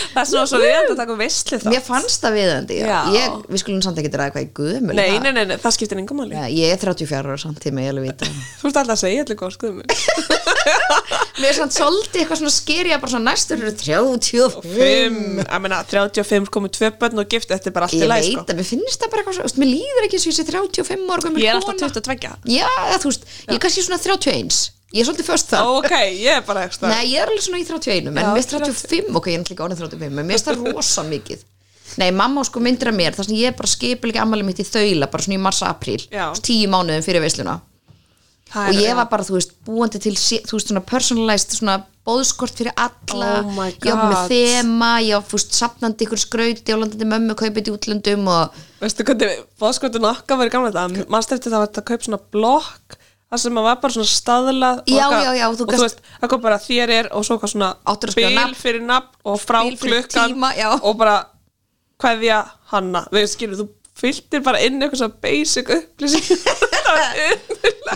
Það er svona svo við að taka veistli þá
Mér fannst það viðandi, já.
Já.
Ég, við skulum samt ekki ræða hvað ég guðmul.
nei, nei, nei, nei, það skiptir engum máli
Ég er 34 ára samt tíma, ég alveg vita.
Þú ert alltaf að segja allir góð skoðum
Mér er samt svolítið eitthvað svona skeri að bara svona næstur eru 35.
5, að meina 35 komið tvö börn og gift Þetta er bara allt
Ég
í læg
veit
sko
að mér finnst það bara eitthvað svona, þú veist, mér líður ekki eins og ég sé 35 ára gömul
Ég er alltaf
kona.
22
Já, eða þú veist, ég er kannski svona 31 Ég er svolítið först það
ok, ég er bara ekstra
Nei, ég er alveg svona í 31, en
Já,
mér er 35, ok, ég er náttúrulega orðin 35, en mér er það rosa mikið. Nei, mamma á sko myndir að mér, þar sem ég bara skipilega ammæli mitt í þaula, bara svona í mars-april,
Já.
tíu mánuðum fyrir veisluna.
Það
Og
er-
ég var bara, þú veist, búandi til, sé- þú veist, svona personalized, svona bóðskort fyrir alla,
Oh my
ég var með
God.
þema, ég var, þú veist, sapnandi ykkur skrauti og landandi mömmu, kaupið í útlöndum og,
Veistu hvernig fóðskotun okkar verið gamla þetta? Manst eftir það var þetta að kaupa svona blokk það sem að var bara svona staðlað og
Já,
eitthvað-
já, já, þú
og þú
gast-
veist, það kom bara þér er og svo hvað svona
Áttur að skrifa
bil
nafn.
fyrir nafn og frá
Bil fyrir
klukkan
tíma, já.
og bara kveðja hanna við skilur, þú fylgtir bara inn eitthvað svona basic upplýsing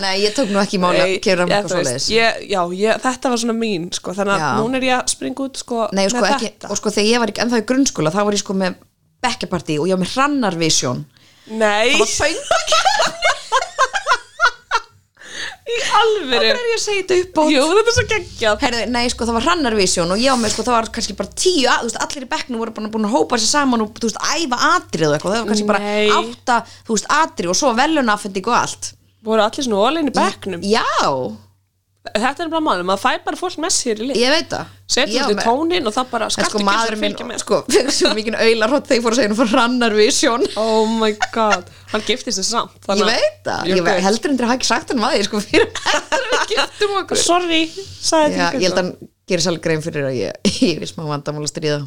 nei, ég tók nú ekki máli að
Nei,
gera
ég-
mjög
þú
svo
veist, ég- já, ég, þetta var svona mín sko, þannig að
Já.
núna er ég að springa út sko,
Nei, og sko,
með
ekki,
þetta
og sko þegar ég var ekki ennþá í grunnskóla þá var ég sko með bekkjapartí og ég var með hrannarvisjón
Nei,
og söngakefni
í alvöru
er ég að segja þetta upp á
Jú, þetta er svo geggjað
Herðu, nei, sko, það var hrannarvisjón og ég á með, sko, það var kannski bara tíu að, þú veist, allir í bekknum voru bara búin að hópa sér saman og, þú veist, æfa atrið og eitthvað, það var kannski
Nei.
bara átta, þú veist, atrið og svo velunafending og allt.
voru allir svona ólinn í bekknum
Já,
þetta er bara málum, maður fær bara fólk með sér í lið
ég veit það. Ég á
setjum þetta
með-
í tónin og það bara
En
skalt
sko,
ekki
maður
að
minn,
fylgja með
sko, fyrir svo mikið auðlarhótt þegar ég fór að segja hann fyrir hrannarvisjón.
oh my god, hann giftist þess samt
Ég
þannig að-
veit það, ég
You're
veit,
good.
heldur endur að hafa ekki sagt hann maður, sko, fyrir heldur við giftum okkur.
sorry, sagði
Já,
þetta
ég held að hann gerir svolítið grein fyrir að ég, ég vil smá vandamál að stríða.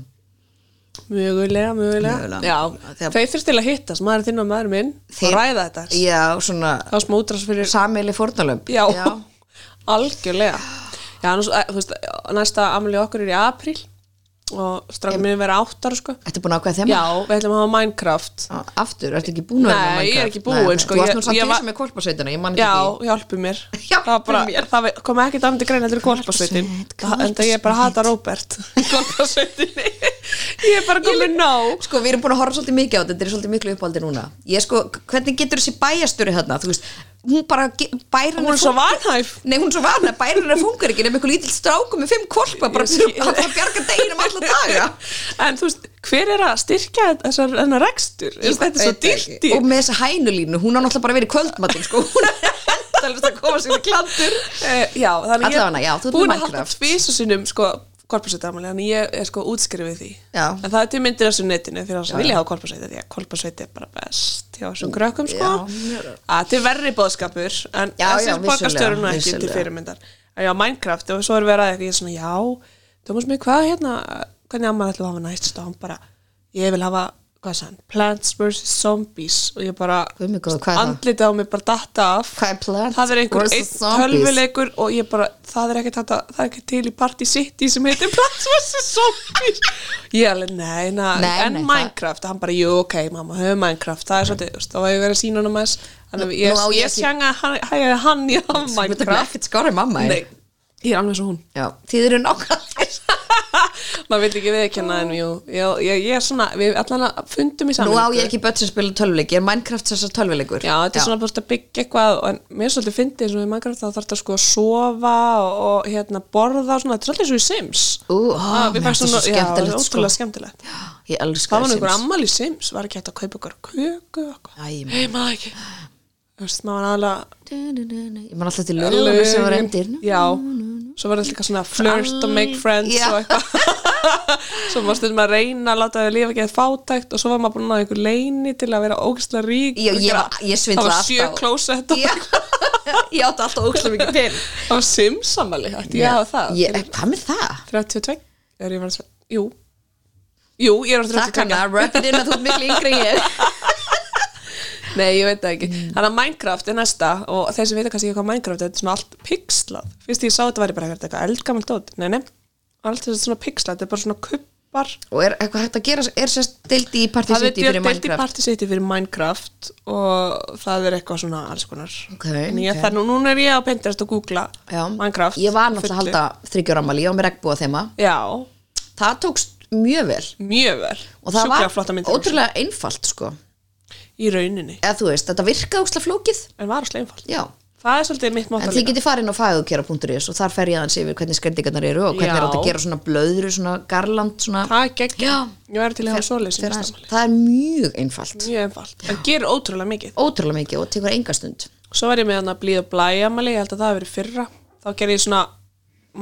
mjögulega, mjögulega
Mögulega.
já,
Þegar-
þau þurft til að hittast, maður þinn og maður minn
Þeir-
að ræða þetta,
Já, svona
þá sem útrast fyrir
samili fórnalömb.
já, algjörlega já, annars, eh, þú veist, næsta amli okkar er í apríl og strafum minn vera áttar sko.
Þetta er búin að ákveða þema?
já, við ætlum að hafa Minecraft
Aftur, ertu ekki búin að vera
Nei,
með
ég er
Minecraft?
ekki búin,
Nei,
sko,
Þú varst
ég-
nú samt
ég
í
var-
þessu með kolpasveitina, ég man ekki
Já, hjálpi mér Það
Hjálpi
var bara,
mér.
Það kom ekki dæmdi grein heldur í kolpasveitin
Hvolpasveit,
Það- En það ég bara hata Róbert í Kolpasveitinni Ég er bara komið nóg
Sko, við erum búin að horfa svolítið mikið á þetta, þetta er svolítið miklu uppáldi núna. Ég sko, hvernig getur þessi bæjastöru þarna, þú veist, hún bara, ge- bærin
Hún er svo vanhæf
Nei, hún er svo vana, bærin hennar fungur ekki, nefnir eitthvað lítill stráku með fimm kolpa, bara
Ég skil.
hann þarf að bjarga deginum alltaf daga.
En þú veist, hver er að styrkja þessar hennar rekstur? Þú veist, Þetta er svo
Veit ekki.
dýrt í
Og með þessa hænulínu, hún á náttúrulega bara verið kvöldmattin sko. Hún er endalist að koma sér í klandur
Eh, Já, þannig ég
Allavega, já, þú ert með
búin að halda
Minecraft.
tvísu sinnum sko, kolpasveitamæli, þannig ég er sko útskrifið því
Já.
En það er til myndir af þessu netinu fyrir þess að vilja hafa kolpasveiti því að kolpasveiti er bara best hjá þessum krökkum sko
Já, mjög
Að Þetta er verri bóðskapur en
Já, já,
þessi
vissulega,
bakastörun og ekki til
vissulega.
fyrirmyndar En já, Minecraft og svo er verið að eitthvað ég er svona, já, Thomas mig, hvað hérna hvernig amma ætlum að hafa næst og hann bara, ég vil hafa, hvað sann Plants vs. Zombies og ég bara,
Guð minn góður, hvað er það?
andlitið á mig bara datta af
Hvað er Plants
það er einhver
vs.
einn
Zombies?
tölvuleikur og ég bara, það er ekkert þetta, það er ekki til í Party City sem heitir Plants vs. Zombies ég er alveg, nei, na,
Nei,
en
nei, það-
Minecraft, það... hann bara, jú, ok, mamma, höfum Minecraft það er svolítið, þú veist, þá var ég verið að sína hann um þess þannig að ég,
nú á
ég,
ég
ég
ekki-
sjanga hann, hæ- hann í hann
Þetta er
Minecraft
ekkert skárið mamma
nei,
er.
ég er alveg svo hún
Já, þið eru nákvæmlega
maður vil ekki viðkjanna en jú, ég, ég, ég er svona við allan að fundum í
Nú
saman
á ég ekki börn sem spila tölvuleik, ég er Minecraft þessar tölvuleikur
Já, þetta er svona bara að byggja eitthvað og- en mér er svolítið fyndið eins og við mannkræft þá þarf þetta sko að sofa og, og hérna borða og svona, þetta er svolítið svo í Sims
Ú, ó,
Ah, við
mér
fækst
finnst
svona,
það svo
já, það er
skemmtilegt, sko.
ótrúlega skemmtilegt
Ég elska
Það var nú einhver
Sims.
ammal í Sims, var ekki hægt að kaupa ykkur köku og eitthvað
Æ, ég man-
Nei, maður ekki Þú veist, maður var aðalega
Ég man alltaf til lögum sem var endir
Já, svo var þetta líka svona flirt og make friends
Já.
og eitthvað Svo maður stundum að reyna að láta þau lifa ekki að fátækt og svo var maður búin að ná einhver leini til að vera ógæslega rík
Já,
og
ég
gera-
var- ég
Það
svindlaði
var sjö
alltaf á-
klósett og
Já, ég átti alltaf ókslega mikið pinn
Það var simsamali, ætti ég að hafa það
Ég- Hvað með það?
32, er ég verið að Jú, jú, ég er á
Takk
32
hana, rub it in að þú ert miklu yngri en ég
Nei, ég veit það ekki
Mm.
Þannig að Minecraft er næsta og þeir sem vita kannski ekki hvað Minecraft er, þetta er svona allt pixlað Fyrst ég sá þetta væri bara eitthvað eitthvað eldgamalt dót Nei, nei, allt þetta er svona pixlað Þetta er bara svona kubbar
Og er eitthvað hægt að gera, er sérst deildi í Party
Það er
City fyrir
delt í
Minecraft
Party City fyrir Minecraft og það er eitthvað svona alls konar
Ok,
En ég
ok.
þannig, núna er ég á Pinterest að googla
Já,
Minecraft
Ég var náttúrulega að
fullu.
halda þryggjóramali, ég var með regnbúa þeima
Já,
Það tókst mjög vel
mjög vel
Og það
Sjúklega
var
flottar myndir og
ótrúlega einfalt sko
í rauninni
Eða þú veist, þetta virkaði ókslega flókið
en var óslega einfalt
Já,
það er svolítið mitt
en
máttar
þið getið farin á fagukera.is og þar fer ég aðeins yfir hvernig skrendingarnar eru og hvernig
Já.
er hægt að gera svona blöðru, svona garland, svona
það er gegn,
Já.
ég verður til að hafa svoleiðis í
Fer
næsta
aðeins-
afmæli.
Það er mjög einfalt
mjög einfalt, en gerir ótrúlega mikið
Ótrúlega mikið og tekur enga stund
svo var ég með hann að blíða og blæja mæli, ég held að það hafi verið í fyrra þá gerði ég svona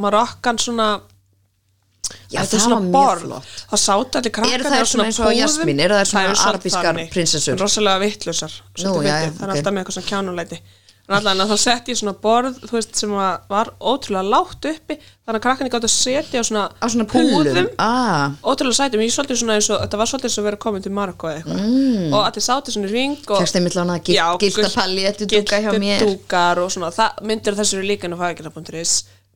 marokkan svona
Já,
þetta er
það
svona
var mjög
borð.
flott.
það sátu allir krakkarnir
Eru þær
á
svona eins og á
púðum.
Jasmín? Eru þær svona
eru svolítið
arabískar
þannig.
prinsessur?
rosalega vittlusar
Nú, já, já,
það er
ok.
alltaf með eitthvað svona kjánuleiti en allan að þá sett ég svona borð þú veist, sem að var ótrúlega lágt uppi þannig að krakkarnir gáttu að setja á svona,
Á svona púðum?
púðum.
Ah.
ótrúlega sætum, ég svolítið svona eins og þetta var svolítið eins og að vera komin til Marokko eða eitthvað mm. og allir sátu svona í ring og-
Fékkstu einmitt lánað gil-
Já,
gylta
gult-
palléttudúka hjá mér.
gyltudúkar og svona, það myndir þessu eru líka inn á fagakirna.is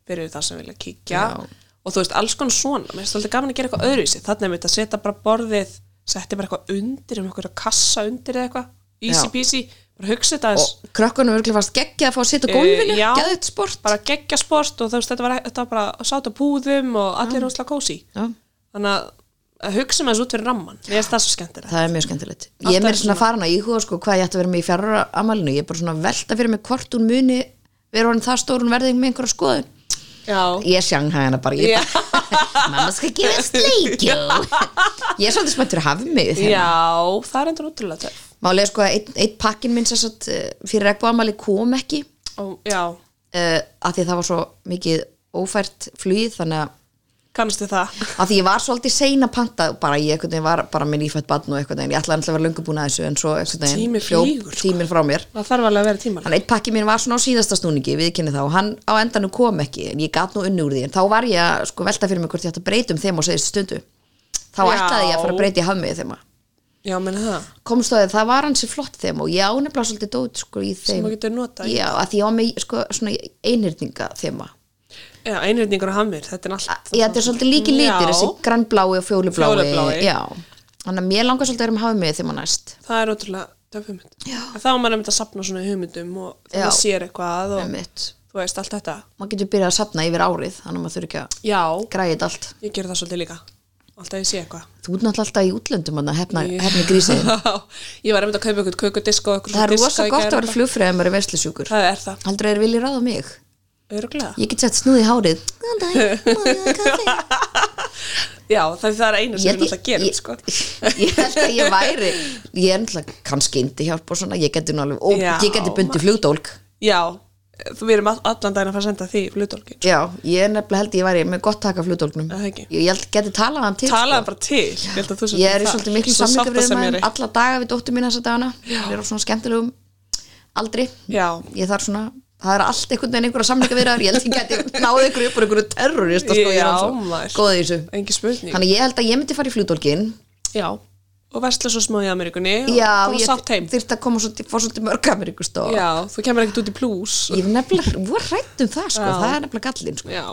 fyrir það sem vilja kíkja
Já.
og þú veist, alls konar svona mér finnst alltaf gaman að gera eitthvað öðruvísi þannig að mitt að setja bara borðið setja bara eitthvað undir, um eitthvað kassa undir eða eitthvað, easy
Já.
peasy bara hugsa þetta aðeins
og krökkunum örgulega fast geggja að fá að sitja á gólfinu,
Eh, já.
geðið sport
bara geggja sport og þú veist, þetta var, e- þetta var bara sátt á púðum og allir er óslega kósi
Já.
þannig að- að hugsa með þessu út fyrir ramman mér finnst það svo skemmtilegt
það er mjög skemmtilegt
Alltaf
ég er mér
er
svona
svona-
farin að íhuga sko hvað ég ætti að vera með í fjárra amalinu, ég er bara svona að velta fyrir mig hvort hún muni vera hann það stór hún verði með einhverja skoðun
Já.
ég sjang hana bara, ég
Já.
bara mamma skal gefa sleikjó ég er svolítið smættur að hafa mig þegar
Já, það er endur útrúlega töff.
málega sko að eitt, eitt pakkin minn sem sagt, eh, fyrir regnbú amali kom ekki
Ó, Já,
uh, að því það var svo mikið ófært flugið þannig að
kannast þið það.
að því ég var svolítið sein að panta bara ég einhvern veginn var bara með nýfætt badn og einhvern veginn ég ætlaði alltaf að vera löngu búin að þessu en svo einhvern veginn
Tíminn
hljóp
flýgur, sko.
tíminn frá mér
Það þarf alveg að vera tímalega.
hann eitt pakki mín var svona á síðasta snúningi viðkynni þá og hann á endanum kom ekki en ég gat nú unni úr því en þá var ég að sko velta fyrir mig hvort ég ætti að breyta um þeim og segist stundu þá
Já.
ætlaði ég að fara að breyta í hafmið þeim
Já, menn það.
komst þá að það var hansi flott þeim og ég ánefla svolítið dót sko í þeim
þú getur notað í.
já að því ég á mig sko svona einhyrninga þeima
Já, einrýtningur og hamir, þetta er allt.
Já, þetta er svolítið líki
Já.
litir, þessi grannblái og fjólublái.
Fjólublái.
Já, þannig að mér langar svolítið að vera með hafið mig þegar maður næst.
Það er ótrúlega töff hugmynd. Já. Þá er maður einmitt að sapna svona hugmyndum og þegar
Já.
maður sér eitthvað og
Einmitt.
þú veist allt þetta.
Maður getur byrjað að sapna yfir árið, þannig að maður þurfi ekki að
Já,
græja þetta allt.
ég ger það svolítið líka. Alltaf ég sé eitthvað.
Þú ert náttúrulega alltaf í útlöndum að hefna, hefna grísið.
ég var einmitt að kaupa eitthvað kökudisk og eitthvað
Það er
svona
rosa
diska í
gott að
gær
vera
og-
flugfræðið að maður er veslisjúkur.
Það er það,
Heldur þeir vilji ráða mig?
öruglega.
Ég get sett snúð í hárið. Góðan dag, má ég hafa kaffi?
Já, það það er eina sem
Ég-
er alltaf að gera,
ég-
sko.
Ég held að ég væri, ég er náttúrulega kannski indi hjálp og svona, ég geti nú alveg, og
Já.
ég geti bundið flugdólk.
Já, þú verðum allan daginn að fara að senda því flutólkin.
Já, ég er nefnilega held ég væri með gott taka flutólknum
Er það ekki?
Ég ég held geti talað hann til
Talaði bara til. Ég, held að þú
sko.
sért
Ég er í
það.
svolítið miklu
Svo
samlingabriðum
sáttasemjari.
alla daga við dóttur mín þessa dagana Við erum svona skemmtilegum aldri
Já.
Ég þarf svona, það er allt einhvern veginn einhverja samlingabriðar Ég held ég geti náð einhverju upp úr einhverju terrorist sko, Ég er
Já,
hann
maður.
svo góð í þessu
Engi spurning.
Þannig að ég held að ég myndi fara í flutólkin
Já. Og versla svo smá í Ameríkunni og
Já,
koma
ég
sátt heim.
þyrfti að koma svolítið, fór svolítið mörg Ameríkustó
Já, þú kemur ekkert út í plús.
Ég er nefnilega, voru rætt um það sko,
Já.
það er nefnilega gallin sko.
Já.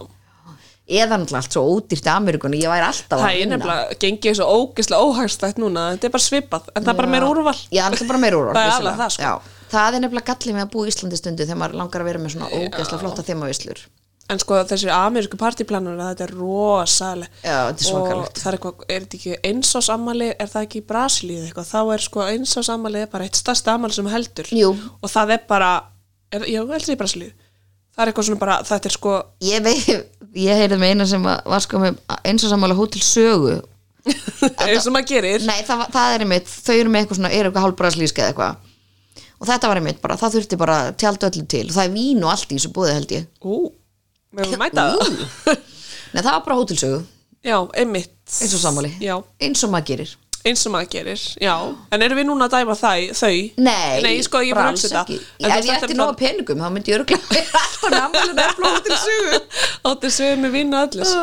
Eða náttúrulega allt svo ódýrt í Ameríkunni, ég væri alltaf
Það
að
er
vinna.
nefnilega, gengið þessu ógeðslega óhagstætt núna. Þetta er bara svipað, en það er bara meira úrval.
Já, það er bara meira úrval
Það er
vissulega.
alveg það, sko.
Já, það er nefnilega gallið með að búa í Íslandi stundu þegar maður langar að vera með svona ógæsla flotta þemavislur
En sko þessi amerísku partíplanur, þetta er rosalega.
Já, þetta er svakalegt.
Og það er eitthvað, er þetta ekki einsás ammali, er það ekki í Brasilíu eitthvað? Þá er sko einsás ammali bara eitt stærsta ammali sem heldur.
Jú.
Og það er bara, er, já, heldur í Brasilíu. Það er eitthvað svona bara, þetta er sko,
Ég veit, ég heyrði með eina sem að- var sko með eins og sammála hótel sögu
eins og maður gerir.
Nei, það, var- það er einmitt, þau eru með eitthvað svona, eru eitthvað hálfbræðslíska eða eitthvað og þetta var einmitt bara, það þurfti bara tjaldu öllu til og það er vín og allt í þessu búið held ég
Ú, við höfum mæta það.
Nei, það var bara hótelsögu,
Já, einmitt.
eins og sammáli
Já,
eins og maður gerir
eins og maður gerir, já. En erum við núna að dæma þæ, þau?
Nei,
Nei, sko, ég bara
alls
hugsa þetta.
ekki. Ef ég ætti nóga peningum, þá myndi ég örgulega vera alltaf námælun að flóta til sögu Ah.
Óttir sögum með vinna allis.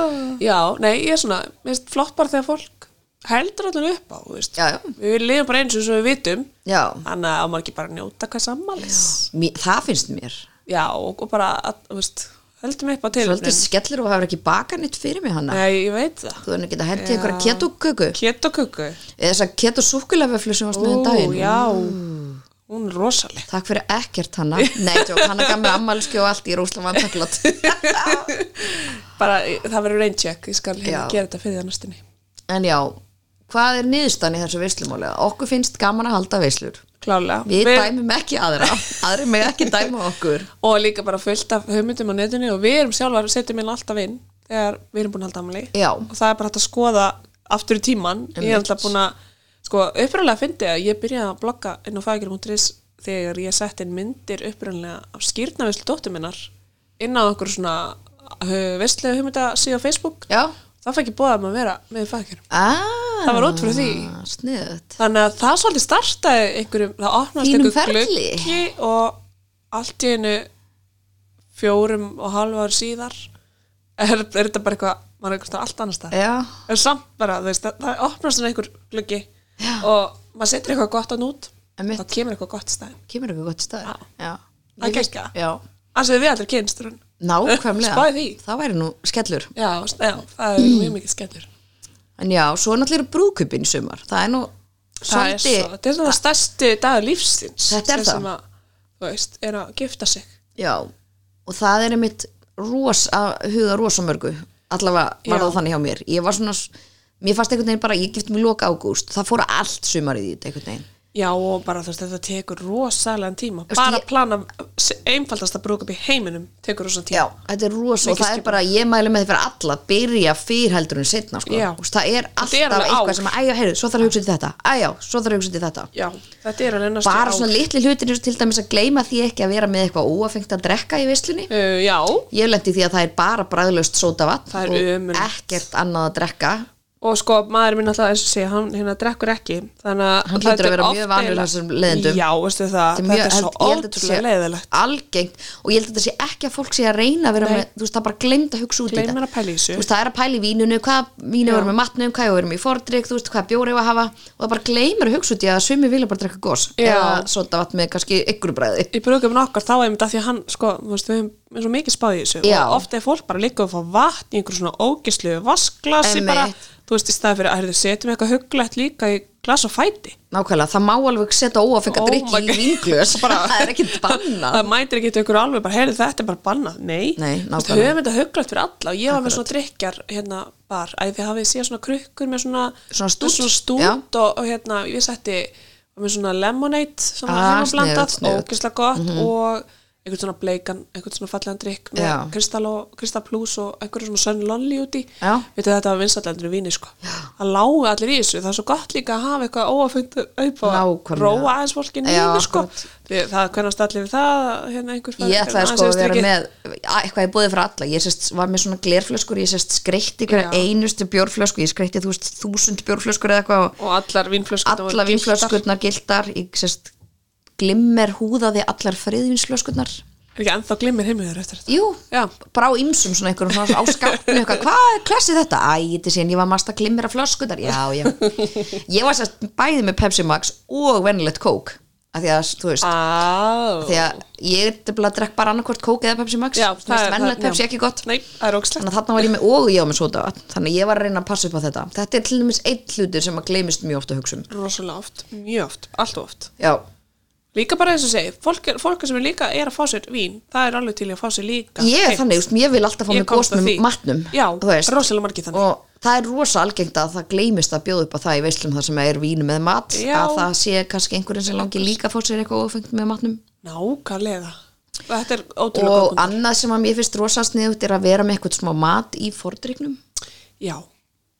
Já, nei, ég er svona, mér finnst flott bara þegar fólk heldur allan upp á, þú veist.
Já, já.
Við lifum bara eins og svo við vitum,
Já,
þannig að á maður ekki bara að njóta hvað sammális.
mér, það finnst mér
Já, og og bara, að- þú veist, heldum upp á
Svolítið
tilhörnin.
skellir og hafur ekki bakað nýtt fyrir mig hana
Nei, ég veit það.
Þú erum ekki að hendi einhverja ketoköku
Kjöt og kuku.
eða þess að ketosúkulaföflu sem varst með um
Ó,
daginn Mm.
já, hún er rosaleg.
Takk fyrir ekkert hanna Nei, tjók, hanna gaf mér ammælski og allt í rúslega vantaklat
bara, það verður reyncheck ég skal
Já.
hérna gera þetta fyrir það næstinni
En já, hvað er niðurstaðan í þessu veislumálega? Okkur finnst gaman að halda veislur
klálega
Við dæmum ekki aðra Aðri með ekki dæma okkur
og líka bara fullt af hugmyndum á netinu og við erum sjálfar, setjum inn alltaf inn þegar við erum búin að halda amali
Já.
og það er bara hægt að skoða aftur í tíman ég er alltaf búin að, sko, upprunalega fyndi að ég byrjaði að blogga inn á fagirum.is þegar ég sett inn myndir upprunalega af skýrnavislu dóttur minnar inn á okkur svona uh, veistlega hugmynda síðan Facebook
Já.
það fæk ég bóða um að vera með fagkjör
Ah,
Það var út frá því.
Sniðut.
þannig að það svolítið startaði einhverjum, það opnast
Þínum
einhver
ferli.
gluggi og allt í einu fjórum og halva ár síðar er, er þetta bara eitthvað maður er einhvers staðar allt annars það
Já.
en samt bara, þú veist, það, það opnast svona einhver gluggi Já. og maður setur eitthvað gott að nút
Einmitt.
þá kemur eitthvað gott stæð
Kemur eitthvað gott stöð. Já.
Það
Ég
er
veist-
geggjað.
Já.
alveg við allir kynstur hann
Nákvæmlega.
Spáði því.
Það væri nú skellur.
Já, já, það er mjög mikið skellur
En já, svo náttúrulega eru brúkupin sumar. Það er nú
Það er
svolítið.
svo, þetta er svona stærsti dagur lífsins
Þetta er
sem-
það.
sem að, þú veist, er að gifta sig
Já. Og það er einmitt ros, að huga rosamörgu. Allavega var
Já.
það þannig hjá mér. Ég var svona, s- mér fannst einhvern veginn bara, ég gift mér loka ágúst. Það fór allt sumarið í þetta einhvern veginn.
Já, og bara þú veist, þetta tekur rosalega tíma
Þú veist,
bara
ég-
að plana s- einfaldasta brúkup í heiminum tekur rosalega
Já,
tíma
þetta er rosa
Mikið
og það er
skipulag.
bara, ég mælu með því fyrir alla byrja fyrr heldur en setna sko.
Já.
Úst, það er alltaf
er alveg
eitthvað
ár.
sem að, æja, heyrðu, svo þarf að hugsa til þetta æja, svo þarf að hugsa til þetta
Já, þetta er alveg næstu
bara svona litli hlutir eins og til dæmis að gleyma því ekki að vera með eitthvað óafengt að drekka í veislunni
uh, Já,
ég lendi því að það er bara bræðlaust sótavatn
Það er
og
ömurlegt.
ekkert annað að drekka
og sko, maður minn alltaf eins og sé, hann hérna drekkur ekki þannig að
Hann hlýtur
þetta
að
er
vera
oft
mjög vanur
eiginlega-
þessum leiðindum.
Já, veistu það,
Þetta er mjög-
þetta er svo
held- ég held að þetta sé
ótrúlega leiðilegt
algengt og ég held að þetta sé ekki að fólk sé að reyna að vera
Nei.
með, þú veist, það bara gleymd að hugsa út í
Gleymir
þetta.
að pæla í þessu.
Þú veist, það er að pæla í vínunu, hvað vínu
Já.
verðum með matnum, hvað verðum í fordrykk, þú veist, hvað bjóri að hafa og það bara gleymir að hugsa út í að sumi vilja bara drekka gos
Já.
eða svona vatn með kannski ykkur bræði
í brúðgjöfum okkar þá einmitt að því að hann sko, þú veist, við höfum eins og mikið spáð í þessu
Já.
og ofta er fólk bara líka að fá vatn í einhverjum svona ógislu vasklasi
Einmitt.
bara, þú veist, í staði fyrir að þú setjum eitthvað huglætt líka í glas og fæti
Nákvæmlega, það má alveg setja óafengar
Oh
oh drikki
my
í
God.
vínglös,
Bara-
það er ekkert bannað
það mætir ekki til ykkur alveg bara, heyrðu þetta er bara bannað, nei,
Nei,
Þú veist,
nákvæmlega.
höfum þetta huglætt fyrir alla og ég var með svona drikjar hérna bar, að þið hafið séð svona krukkur með svona,
Svona stút,
með svona
já.
stút og, og hérna, ég setti var með svona lemonade svona ah,
Ah, Mhm.
heimablandað,
sniðugt, sniðugt.
ógislega gott og einhvern svona bleikan, einhvern svona fallegan drikk
Já.
með kristall og kristall plus og einhverjum svona sönn lolli úti
Já.
veitu þetta var vinsallendur í víni sko það lágu allir í þessu, það er svo gott líka að hafa eitthvað óafengt upp og
Nákvæmlega.
róa aðeins fólki
Já,
nýðu sko
akkurat.
Þið, það hvernast allir við það hérna einhver fær-
Ég ætlaði
aðeins
sko að
yfir
vera
strikið.
með að, eitthvað ég búið fyrir alla, ég sest, var með svona glerflöskur ég sest skreytti
Já.
hverja einustu bjórflösku ég skreytti þú veist þúsund bjórflöskur eða eitthvað og
og allar vínflöskunar
alla vínflöskurnar gildar ég sérst glimmer húðaði allar friðvinsflöskurnar
er ekki ennþá glimmir heimur eftir þetta
jú,
já,
bara á ymsum svona einhverjum svona á skapnu eitthvað, hvað er klassi þetta? Æ, þetta sé en ég var masta glimmera flöskurnar já, já, ég var sérst bæði með Pepsi Max og venilegt kók af því að, þú veist,
á
því að ég er bara að drekk bara annarkvort kók eða Pepsi Max,
já,
Þú veist, venilegt
já.
Pepsi ekki gott
nei, það er ógslegt
þannig að þarna var ég með og ég á með sota þannig að ég var að reyna að passa upp á þetta þetta er til dæmis einn hlutur sem að gleymist mjög ofta hugsa um
rosalega oft, mjög oft, allt of oft
já,
líka bara eins og segi, fólk, er, fólk sem er líka er að fá sér vín, það er alveg til í að fá sér líka
ég er
heitt.
þannig, just, ég vil alltaf fá
Ég
mig
komst
gos
að
með
því.
matnum
já,
þú veist.
rosalega margir þannig
og það er rosa algengt að það gleymist að bjóða upp á það í veislum þar sem er vín með mat
Já.
að það sé kannski einhverjum sem langi líka að fá sér eitthvað ofengt með matnum
nákvæmlega, þetta er ótrúlega
og
gott punktur.
annað sem að mér finnst rosa sniðut er að vera með eitthvað smá mat í fordrygnum
Já,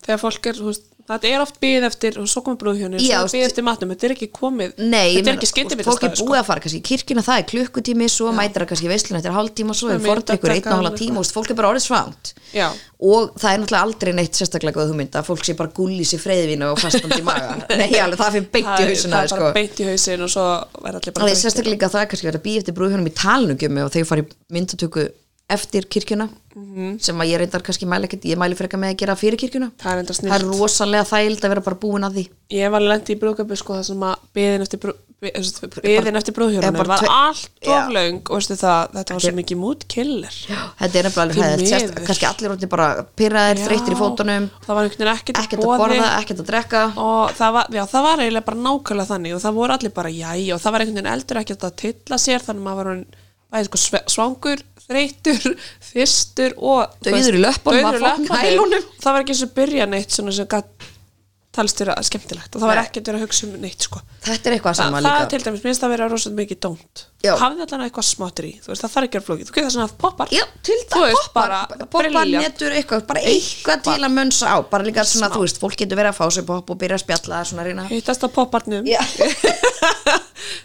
þegar fólk er, þú veist, þetta er oft bíð eftir, og svo komið brúðhjónir,
Já,
svo er
veist-
bíð eftir matnum, þetta er ekki komið,
Nei, ég
þetta
meina,
er ekki sko. skyndið
fólk er búið að fara kannski í kirkina, það er klukkutími, svo mætir það kannski veislun eftir hálftíma, svo
Það
er
er
fordrykkur einn
myndataka
og hálfa
og
tíma, þú veist, fólk er bara orðið svangt
Já.
og það er náttúrulega aldrei neitt sérstaklega góð hugmynd að fólk sé bara gulli sér freyðvinu og fastandi í maga Nei, alveg, það fyrir beint í
það, er-
hausuna
það er bara beint í hausin og svo er allir bara
Það
þreyttir.
er sko. sérstaklega líka að það er kannski verið að býja eftir brúðhjónum í talnugjömi og þegar fari myndatöku eftir kirkjuna
Mhm.
sem að ég reyndar kannski mæla ekkert, ég mæli frekar með að gera fyrir kirkjuna
Það er enda
Það er
snill.
rosalega þægild að vera bara búin að því
Ég var lent í brúðgöpu sko það sem að biðin eftir, brú, biðin eftir
Eða bara
brúðhjónum var
tve-
allt
Já.
of löng og veistu það, þetta var svo mikið mútkillir.
Þetta er nefnilega alveg
Því
hæðið, sérst,
miður.
kannski allir orðnir bara pyrraðir, þreyttir í fótunum
Það var einhvern veginn ekkert,
ekkert að borða, ekkert að drekka
og það var, já, það var eiginlega bara nákvæmlega þannig og það voru allir bara jæja og það var einhvern veginn eldur ekkert að tilla sér þannig að maður var orðinn bæði sko sve- svangur, þreytur, þyrstur og þú
Dauður
veist,
í löppunum,
dauður í
að fá
löppunum.
nælunum.
það var ekki eins og byrja neitt svona sem gætt talist þér að skemmtilegt og það var
Nei.
ekkert verið að hugsa um neitt sko
Þetta er eitthvað
það,
sem að
það er
líka
til dæmis, minnst það verið að rosa mikið dónt
Já.
hafði allan eitthvað smáttir í, þú veist það þarf ekki að vera flókið þú getur það svona að poppar
Já, til
Þú
það,
veist,
poppar,
bara
poppar,
brilliant.
netur, eitthvað, bara eitthvað til að mönsa á, bara líka svona,
Smá.
þú veist, fólk getur verið að fá sér popp og byrja að spjalla, svona að reyna
hittast á popparnum
Já.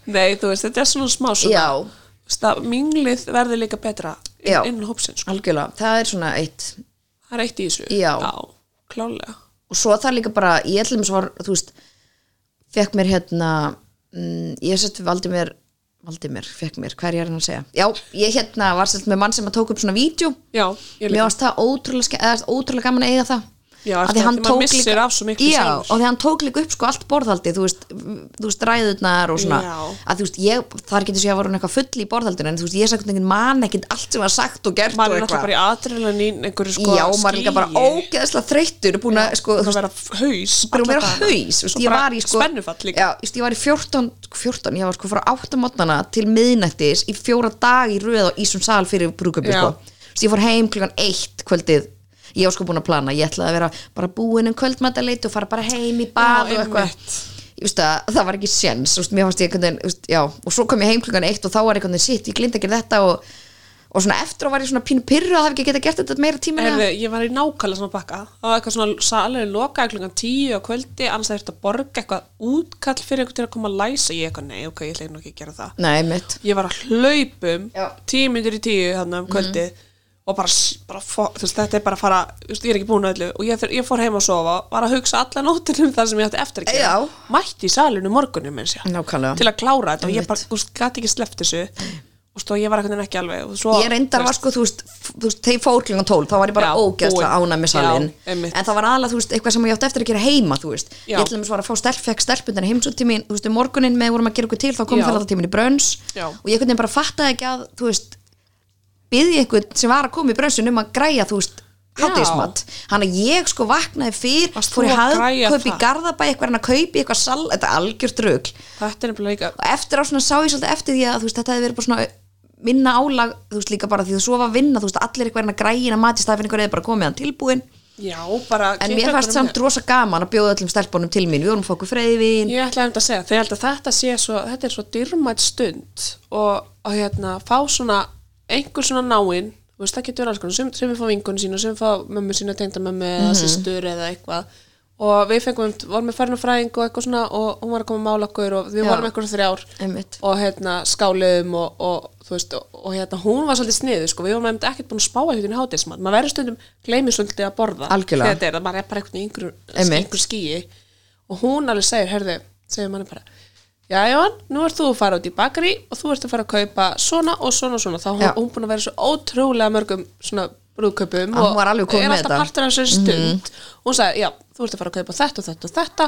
nei, þú veist, þetta er svona smá svona
Já.
Þú veist, að minglið verður líka betra
Já.
inn, inn hópsinn sko.
algjörlega, það er svona eitt
það er eitt í þessu
Já.
klálega
og svo það líka bara, ég ætlum svo var, þú veist fekk mér hérna mm, ég sett valdi mér valdi mér, fekk mér, hver ég er hann að segja já, ég hérna var sett með mann sem að tók upp svona vídeo,
já, ég
mér
líka
varst það ótrúlega, ske- eða, ótrúlega gaman að eiga það
Já,
Af
eftir að- því maður missir af svo miklu
já,
sjálfur.
og því hann tók líka upp sko allt borðhaldi þú veist, m, þú veist ræðurnar og svona
Já.
að þú veist, ég, þar getur sér að voru eitthvað full í borðhaldinu en þú veist, ég sagði einhvern veginn man ekkert allt sem var sagt og gert
maður er
og
náttúrulega bara í adrenalín einhverju sko
já, maður er líka bara ógeðslega þreyttur búin að, sko, þú
það
veist,
vera haus
bara
alla
að vera
dagana.
haus þú veist,
Svo
ég
bara
var í sko
spennufall líka
já, þú veist, ég var í 14, 14 ég var sko frá 8 mótnana til miðnættis í fjóra dag í röð og ísum sal fyrir brúköpi
Já.
sko. Þú veist, ég fór heim klukkan 1 kvöldið ég var sko búin að plana, ég ætlaði að vera bara búin um kvöldmataleit og fara bara heim í
Já,
bað og eitthvað
einmitt.
Ég veist að, það var ekki séns þú veist, mér fannst ég einhvern veginn, þú veist, já, og svo kom ég heim klukkan 1 og þá var einhvern veginn sitt, ég glinda ekki þetta og, og svona eftir og var ég svona pínu pyrru að hafa ekki geta gert þetta meira tíma
Herði, ég var í nákvæmlega svona bakka það var eitthvað svona salur lokaði klukkan tíu á kvöldi annars það þurfti að borga eitthvað útkall fyrir einhvern til að koma að læsa ég eitthvað nei, ok, ég ætla nú ekki að gera það
Nei, mitt
ég var að hlaupum
Já. Mhm.
tíu myndir í tíu þannig um kvöldi og bara, s- bara fó, þú veist, þetta er bara að fara þú veist, ég er ekki búin að öllu og ég, fyr, ég fór heim að sofa var að hugsa alla nóttunum þar sem ég átti eftir að gera
Já.
mætti í um salinu morgunum eins og
Nákvæmlega.
til að klára þetta og
Einmitt. Mm.
ég bara, þú veist, gæti ekki sleppt þessu og stóð, ég var einhvern veginn ekki alveg og svo,
ég reyndar var sko, þú veist, f- þú veist þeir fór klingan 12, þá var ég bara
Já,
ógeðslega
búin.
ánað með salin
Já, einmitt.
en það var aðlega, þú veist, eitthvað sem ég átti eftir að gera heima þú veist,
Já.
ég ætlum að svara að fá stelp, fekk stelpundin heimsótt til mín, þú veist, um morgunin með vorum að gera okkur til, þá kom
Já.
ferðartímin í brönns
Já.
og ég einhvern veginn bara fattaði ekki að, þú veist byði einhvern sem var að koma í brönnsun um að græja, þú veist hátíðismat, hann að ég sko vaknaði fyrr,
Varst
fór
þú
í
að græja
hagkaup í
það?
garðabæ eitthvað en að kaupi eitthvað sal, þetta er algjört rugl
þetta er nefnilega líka
og eftir á svona sá ég svolítið eftir því að þú veist, þetta hefði verið bara svona minna álag þú veist líka bara því þú svo var vinna þú veist allir eitthvað er að græina mati staðfinn einhver eða bara komið hann tilbúin
Já, bara
en
kippa
mér fannst
einhverjum
samt rosa gaman að bjóða öllum stelpunum til mín við vorum að fá okkur
með.
freyðvin
Ég ætlaði um að segja, þegar ég held að þetta sé svo, þetta er svo dyrmætt stund og, og hérna, fá svona einhver svona náinn, þú veist, það getur verið alls konar, sem, sem við fá vingun sína, sem fá mömmu sína, tegnda mömmu eða
Mhm.
sýstur eða eitthvað og við fengum, vorum við farin og fræðing og eitthvað svona og hún var að koma að mála okkur og við
Já.
vorum eitthvað þrjár
Einmitt.
og hérna skáliðum og, og þú veist, og, og hérna hún var svolítið sniðu, sko, við vorum einmitt ekkert búin að spá eitthvað í hátismann, maður verður stundum gleymið svolítið að borða
Algjörlega.
þegar þetta er að maður er bara einhvern veginn í einhverju-
Einmitt.
einhverju skýi og hún alveg segir, herðu, segir manni bara já, Jón, nú ert þú að fara út í bakari og þú ert að fara að kaupa svona og svona og svona, þá hún,
Já.
hún búin að vera í svo ótrúlega mörgum svona brúðkaupum
Að hún var alveg komin
er
með
alltaf
þetta. Mhm.
partur af þessu stund hún sagði, já, þú ert að fara að kaupa þetta og þetta og þetta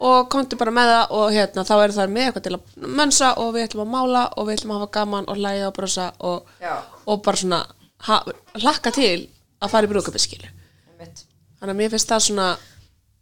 og komdu bara með það og hérna, þá eru það með eitthvað til að mönsa og við ætlum að mála og við ætlum að hafa gaman og læja og brosa og,
Já.
og bara svona ha, hlakka til að fara í brúðkaupiskilu þannig að mér finnst það svona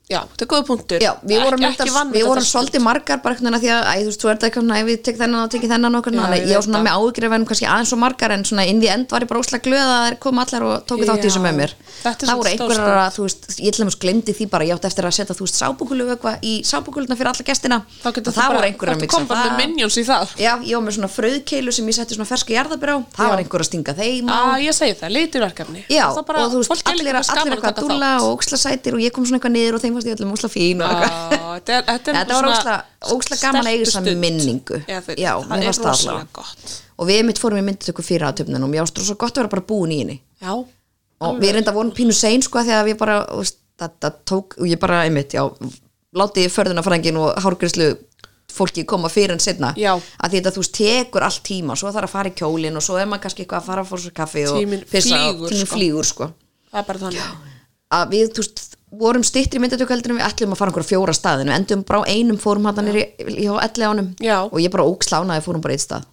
já, þetta er góða punktur
já, við vorum,
ekki,
ekki,
ekki vann
við
þetta
vorum
stund.
svolítið margar bara einhvern veginn að því að æ, þú veist, þú ert eitthvað svona, æ, við tek þennan og tekið þennan og okkur,
Já,
þannig
ég
að ég var
veit
svona
það.
með ágjur að verðum kannski aðeins og margar en svona inn í end var ég bara óslega glöð að þær kom allar og tóku þátt í
Já.
þessu með mér
Þetta er
það
svolítið
voru
stór
einhverjar að, þú veist, ég til dæmis glemdi því bara, ég átti eftir að setja, þú veist, sábúkulu eitthvað í sábúkuluna fyrir alla gestina
þá getur
það voru einhverjar að
að
mixa
kom bara með minions í það
já, ég var með svona fröðkeilu sem ég setti svona ferski jarðabir á, það var einhverjar að stinga þeim á
að Ah, ég segi það, liturverkefni
Já,
Það er bara,
og þú veist,
fólki er líka
allir,
bara skaman
allir
að
eitthvað
taka
dúlla
þátt.
og ókslasætir og ég kom svona eitthvað niður og þeim fannst ég allir músla fín og eitthvað
Á, Ah, þetta er- þetta er
Þetta var
svona
ógeðslega- ógeðslega gaman að eiga þessa
stelpustund.
minningu.
Já, það,
Já, mér
það
fannst
er
það
rosalega
allavega.
gott
og við mitt fórum í myndutöku fyrir aðtöfnun og mér ástu svo gott að vera bara búin í henni
já,
og við reynda vorum pínu sein sko af því að við bara, þú veist, þetta tók og ég bara, einmitt, já, látið förðunafrængin og hárgrislu fólki koma fyrir en setna
Já.
að því þetta þú veist tekur allt tíma svo þarf að fara í kjólin og svo er maður kannski eitthvað að fara að fóra svo kaffi og
Tíminn
pissa og
flýgur,
tíminn
sko.
flýgur sko
það er bara þannig
að við, þú veist, vorum stittri myndatökuheldurinn við ætlum að fara einhverja fjóra staði en við endum bara á einum fórum hann í, í, í elli ánum
Já.
og ég bara ókslánaði fórum bara eitt stað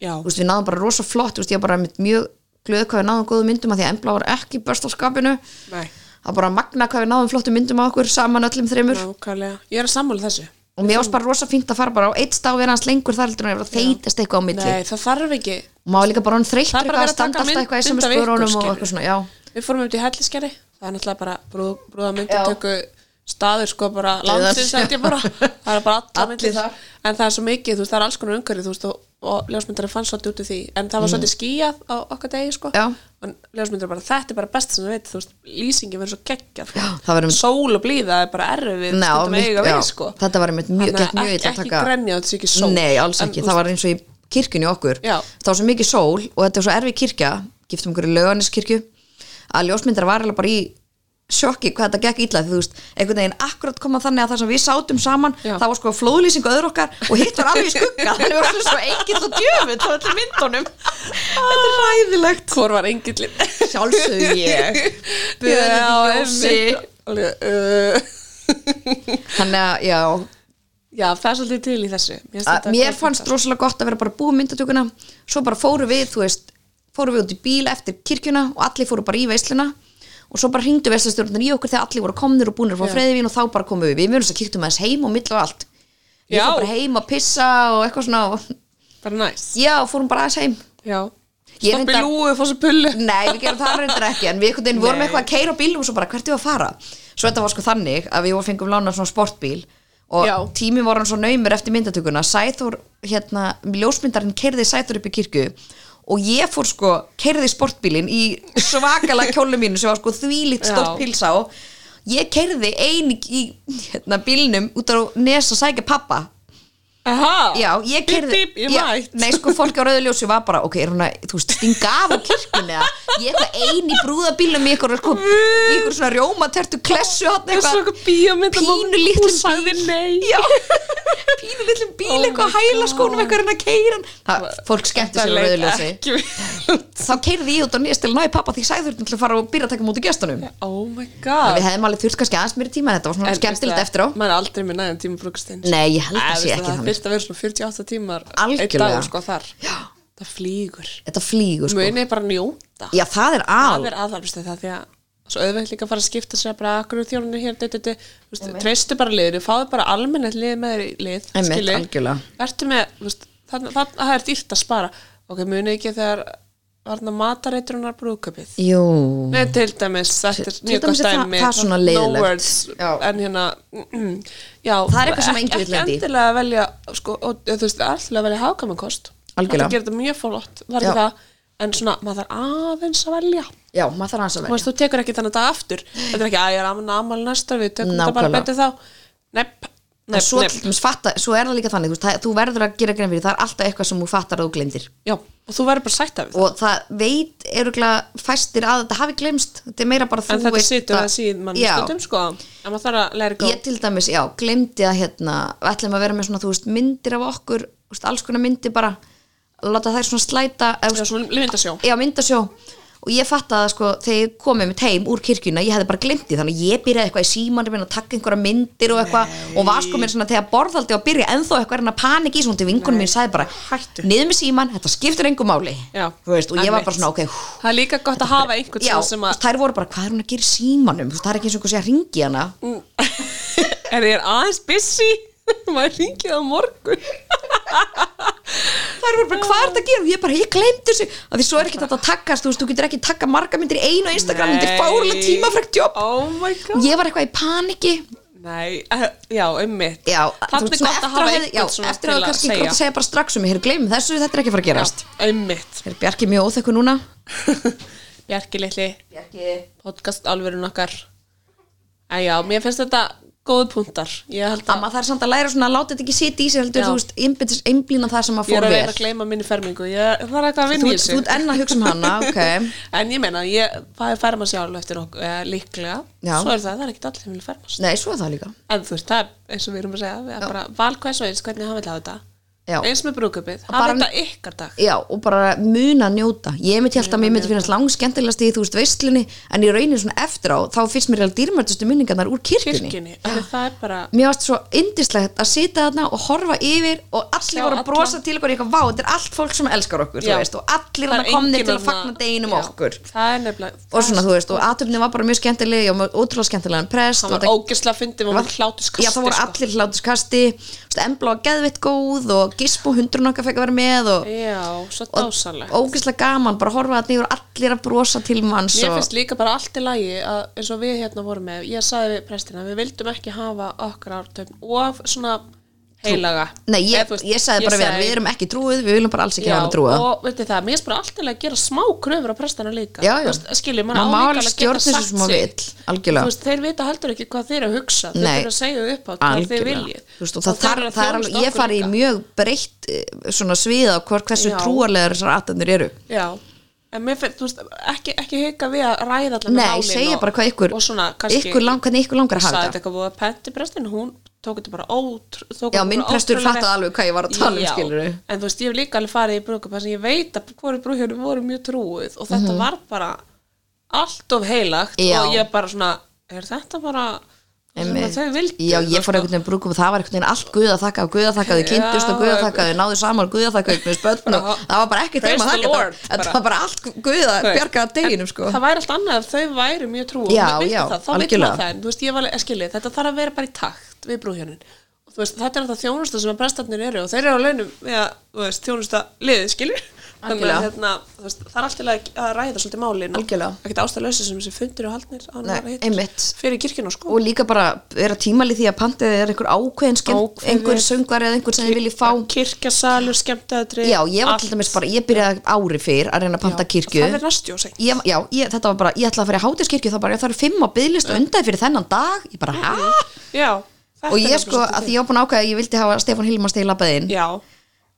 já,
þú veist, við náðum bara rosa flott, þú veist, ég var bara einmitt mjög glöð hvað við náðum góðum myndum að því að Embla var ekki í börstaskapinu,
nei,
það bara magna hvað við náðum flottum myndum á okkur saman öllum þreymur
nákvæmlega ég er að sammála þessu
og mér ást bara rosa fínt að fara bara á eitt stað og vera hans lengur þar heldur en að vera að þeytast eitthvað á milli
nei, það þarf ekki
og maður líka bara hann þreyttur
Það er bara
eitthvað
verið að taka mynd-
að standa alltaf eitthvað í
mynd af
saman
ykkur,
spörunum og
skilur.
eitthvað svona, já,
Við fórum út í helliskeri, það er náttúrulega bara brúð, brúðamyndatöku staður sko bara landsins held ég bara, það er bara alla
Allir
myndir
þar.
en það er svo mikið, þú veist, það er alls konar umhverju þú veist, og, og ljósmyndari fann svolítið út í því en það var svolítið skýjað á okkar degi sko
Mm. Já.
en ljósmyndari bara, þetta er bara best sem þú veit, þú veist, lýsingi verður svo geggjað sko."
Já, það verður-
sól og blíða er bara erfið
Ná,
stundum
mitt-
eiga
já,
við sko
þetta var einmitt mjög-
Þannig að
gekk mjög illa að
ekki, ekki
taka-
grenja, þetta sé ekki sól
Nei, alls
En,
ekki,
þú
það var eins og í kirkjunni okkur
Já.
það var svo mikið sól og þetta er svo erfið kirkja giftum okkur í löganiskirkju að ljósmyndar var alveg bara í sjokki hvað þetta gekk illa því þú veist, einhvern veginn akkurat koma þannig að það sem við sátum saman
Já.
það var sko flóðlýsing öður okkar og hitt var alveg í skugga þannig við varum svo eigill og djöfull á öllum myndunum þetta er ræðilegt
Hvor var engillin?
sjálfsög ég böðið í ljósi þannig að já,
Já, það er svolítið til í þessu Mér, finnst
að
þetta
mér
gott
fannst
þetta.
rosalega gott að vera bara búið myndatökuna svo bara fóru við, þú veist fóru við út í bíl eftir kirkjuna og allir fóru bara í veisluna og svo bara hringdu veislustjórnir í okkur þegar allir voru komnir og búinir frá
Já.
freyðivín og þá bara komum við við mjög þess að kíktum aðeins heim og mill og allt ég
Já.
fór bara heim að pissa og eitthvað svona og,
Bara næs
já, fórum bara aðeins heim
Já
Ég
Stoppi
reyndar-
lúu, fór svo pullu
Nei, við gerum það reyndar ekki en við einhvern veginn vorum
Nei.
eitthvað að keira bílum og svo bara hvert ég var að fara Svo þetta var sko þannig að við vorum fengum lána svona sportbíl og
Já.
tími var hann svo naumur eftir myndatökuna Sæþór, hérna, ljósmyndarinn keirði Sæþór upp í kirkju og ég fór sko, keirði sportbílinn í svakala kjólu mínu sem var sko þvílíkt
Já.
stort pils á Ég keirði ein í hérna, bílnum út á nes að sækja pappa
Aha
Já, ég kerði
Bip, bip, ég
já,
mætt
Nei, sko, fólk á rauðuljósi var bara, ok, er hún að, þú veist, stinga af á kirkjunni eða ég eitthvað ein í brúðabílum í ykkur, sko, í ykkur svona rjómatertu klessu hann
Það er
eitthvað,
svona bíómynd
pínu litlum
Hún sagði nei
já, pínu lillum bíl
Oh my
eitthvað, hæla sko, skónum eitthvað reyna hérna að keyra hann það, fólk skemmti sér á rauðuljósi
rauðljósi
þá keirði ég út á nýjast til að ná í pappa því sæður til að fara og byrja að taka múti gestunum
Oh my
við
god
hefðum alveg þurft kannski aðeins mér tíma en þetta var
En,
svona skemmtilegt eftir á
Maður er aldrei með næðum tíma brúkstinn
Nei, ég held að sé
Það
ekki þannig.
fyrst að vera svona 48 tímar Eitt
Algjörlega.
dagur sko þar Já Það flýgur
þetta flýgur sko,
Munið bara njóta
já það er al
Það er aðalvist það því að svo auðvitað líka að fara að skipta sér bara akkur úr þjónunni hér, dut, dut, dut, þú veist, treystu bara liðinu, fáðu bara almennið lið með þér í lið,
Einmitt,
skilur.
algjörlega.
Vertu með, þú veist, þannig að það er dýrt að spara. Ok, munið ekki þegar varna matareitrunar brúðköpið.
jú,
Nei, til dæmis, þetta er
Mm. Til
mjög
dæmis
gott
er það-
dæmi.
það er svona
No
leiðilegt.
words,
Já.
en hérna, já.
Það er eitthvað sem enginn vill
Ekki
lenda í.
endilega að velja, sko, og, þú veist, alltaf að velja hagkvæmankost.
Algjörlega.
Það gerir þetta mjög fólott, það er
Já.
ekki það, en svona, maður þarf aðeins að velja.
já, maður þarf aðeins að
Þú
velja
veist, þú tekur ekki þannig dag aftur Þetta er ekki að ég er amal, amal næsta Við tökum þetta bara
Nákvæmlega.
betur þá Nepp,
en
nepp,
svo,
nepp
nepp. Fatta, svo er það líka þannig þú, veist, það, þú verður að gera grein fyrir, það er alltaf eitthvað sem þú fattar að þú glemdir
Já, og þú verður bara sætt af það
og það veit eruglega fæstir að þetta hafi glemst þetta er meira bara þú
En þetta
veist
situr það síðan mann
Já.
stundum sko En maður þarf að læra
ég
góð
til dæmis, já, glemdi að hérna við ætlum að vera með svona, þú veist, myndir af okkur þú veist, alls konar myndir bara láta þær svona slæta eða,
Já, svona limindasjó
já, myndasjó og ég fatt að sko, þegar ég komið mitt heim úr kirkjuna, ég hefði bara glemt því þannig að ég byrjaði eitthvað í símanum minn að taka einhverja myndir og eitthvað og var sko mér svona þegar borðaldi og byrja ennþá eitthvað er hann að panik í svona til vingunum minn sagði bara,
Hættu.
niður með síman, þetta skiptir engum máli
Já.
Þú veist, og ég var
Einmitt.
bara svona, ok, hú
Það er líka gott að hafa einhvern
já,
svona
þú
sem
veist, þær voru bara, hvað er hún að gera í símanum Þú veist, það er ekki eins og einhver sé að ringi hana
að Mm. Er ég aðeins busy? Maður ringið á morgun
þær voru bara, hvað er þetta að gera, og ég bara, ég glemt þessu að því svo er ekki þetta að takkast, þú veist, þú getur ekki taka marga myndir í einu á Instagram, þetta er fárlega tímafrækt jobb
Oh my
og
god
ég var eitthvað í paniki
Nei, eh, já, einmitt
já, þú
Þannig
veist,
gott að
svona eftir
hafa
að hefði- já,
einhvern svona
eftir að
til að
það kannski gott að
segja
segja bara strax um mig, hér gleym þessu, þetta er ekki að fara að gerast
Einmitt
er Bjarki mjög óþekkur núna
Bjarki litli
Bjarki,
podcast alvörun okkar en já, mér finnst þetta góð punktar ég held að
amma það er samt að læra svona að láta þetta ekki sitja í sig heldur,
Já.
þú veist, einbyttis- einblína það sem að
ég er
fór
að reyna að
vel
gleyma minni fermingu ég það er eitthvað að
þú
vinna í
ert- þú
þessu
ert enn að hugsa um hana, ok
en ég meina, ég, það er ferma sjálf eftir okkur, eh, líklega
Já.
svo er það, það er ekkit allir sem vilja fermast
Nei, svo er það líka
en þú veist, það er eins og við erum að segja við erum bara val hvers og eins, hvernig hann vil hafa þetta
Já.
eins með brúkupið, hafa
bara-
þetta ykkar dag
Já, og bara muna að njóta Ég myndi held að mér myndi finnast langskemmtilegast í þú veist veistlunni En ég raunir svona eftir á Þá finnst mér alveg dýrmættustu minningarnar úr kirkjunni
kirkjunni, en það er bara
Mér varst svo yndislegt að sita þarna og horfa yfir Og allir
Sjá
voru
alla.
að brosa til okkur Ég eitthvað, vá, þetta er allt fólk sem elskar okkur þú
Já.
veist, Og allir
það er
þarna komnir
enginn
til að
þarna-
fagna deginum
Já.
okkur
það er nefnilega
Og svona, þú veist, og aðtöfni var bara mjög skemmtileg Ég var með ótrúlega skemmtilegan prest
það
og
var sko.
þetta-
ógislega fyndið, maður hlátuskasti
Já, það voru allir hlátuskasti þú veist, Embla var geðveitt góð og Gispo hundrun okkar fekk að vera með og
já, svo dásalegt
ógeðslega gaman, bara horfa að nýjur allir að brosa til manns
Mér
og
finnst líka bara allt í lagi að eins og við hérna vorum með, ég saði við prestina við vildum ekki hafa okkar ártöfn of svona heilaga
Nei,
Eða,
ég,
þú veist,
ég sagði bara við hann, við erum ekki trúið, við viljum bara alls ekki
já,
hafa hann trúið
og veitir það, mér finnst bara allt í lagi að gera smá kröfur á prestina líka
Já, já.
Þú veist, skilur, mann
Maður má
álíka
alveg
að geta
stjórna þessu
sagt
sem maður
sig.
vill, algjörlega.
Þú veist, þeir vita heldur ekki hvað þeir eru að hugsa þeir
Nei.
eru að segja upp á hvað þeir
Algjörlega.
viljið
Þú veist, og
Og
það,
þeir
það,
eru að
það er
þjónusta
alveg, ég
okkur
fari í
líka.
mjög breytt eh, svona sviða á hvort hversu
Já.
trúarlegar þessar aðtöfnir eru
Já, en mér finnst, þú veist, ekki, ekki hika við að ræða allan
Nei, segja bara hvað ykkur-
og svona, kannski,
ykkur lang- hvernig ykkur langar að hafa
sagði
þetta.
þetta eitthvað voða pent í prestin, hún tók þetta bara ótr tók
Já,
þetta
minn
bara
prestur
ótrúlega-
fattaði alveg hvað ég var að tala um,
Já,
skilurðu.
en þú veist, ég hef líka alveg farið í brúkup þar sem ég veit að hvoru brúkjöfnum voru mjög trúið og þetta var bara allt of heilagt
Mhm. Já.
og ég bara svona, er þetta bara sem
Einmitt.
að þau vildi
Já, ég fór einhvern veginn brúkum og það var einhvern veginn allt guða þakka og guða þakka, þau kynntust
Já,
og guða þakka þau náðu saman guða þakka, eignast börn og
Bara-
það var bara ekkert
Praise
þeim að
the
þakka
Lord,
þetta þetta
bara.
var bara allt guða
Nei.
bjargaða deginum sko
það væri allt annað ef þau væri mjög trú
Já, já,
það, þá veitum
algjörlega.
maður það en þú veist, ég var að skilja, þetta þarf að vera bara í takt við brúðhjónin og þú veist, þetta er alltaf þjónusta sem að prestarnir eru og þeir eru á launum við að, þú veist, þjónusta liðið, skilur þannig
Algjörlega.
að hérna, þú veist, það er alltaf að, að ræða svolítið málin og
Algjörlega.
ekkert ástæðlausi sem þessi fundir og haldnir án
Nei,
að hittast
einmitt.
fyrir kirkina sko
og líka bara vera tímalið því að pantið er einhver ákveðin skemmt,
Ákveðið.
einhver söngvar eða einhver sem þið viljið fá
kirkjasalur, skemmtæðri
Já, ég var til dæmis bara, ég byrjaði ári fyrr að reyna að panta kirkju
það er næstjó seint
ég, já, ég, þetta var bara, ég ætlaði að fara í hátiskirkju þá bara, já, það eru fimm á byggðlist og undaði fyrir þennan dag ég bara, hæ?
já, Mhm. þetta
Og
er
ég
nefnilega
sko,
svolítið
að því ég var búin að ákveða að ég vildi hafa Stefán Hilmar stegi labbaði inn
já,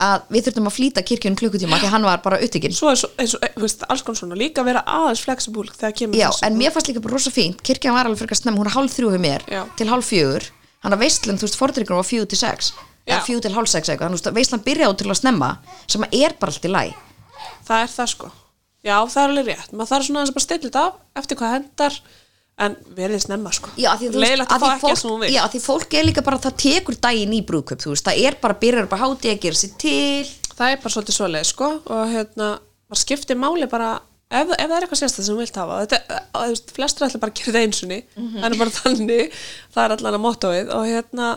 að við þurftum að flýta kirkjun klukkutíma því hann var bara uttekinn
svo er svo, eins og, eh, þú veist, alls konar svona líka vera aðeins fleksibúl þegar kemur
já,
þessu.
en mér fannst líka bara rosa fínt kirkjan var alveg frekar snemm, hún er hálf þrjú hjá mér
Já.
til hálf fjögur, hann að veistlan þú veist, fordrykkur var fjögur til sex eða
Já.
fjögur til hálf sex eitthvað, þannig að veistlan byrjaði til að snemma sem að er bara allt í læ
það er það sko já það er alveg rétt, maður þarf svona aðeins að bara stilla þetta af eftir hvað hendar en verðið snemma sko
já, að því, þú
leiðilegt að
að
fá
því
ekki það sem hún
fólk,
vil
já, að því fólk er líka bara það tekur daginn í brúðkaup, þú veist, það er bara byrjar bara hátí að gera sér til
það er bara svolítið svoleið sko og hérna, maður skiptir máli bara ef, ef það er eitthvað sérstæð sem hún vilt hafa þetta, að, þú veist, flestir ætla bara að gera þetta einsunni mm
Mhm.
-hmm. þannig bara þannig, það er allan að mottóið og hérna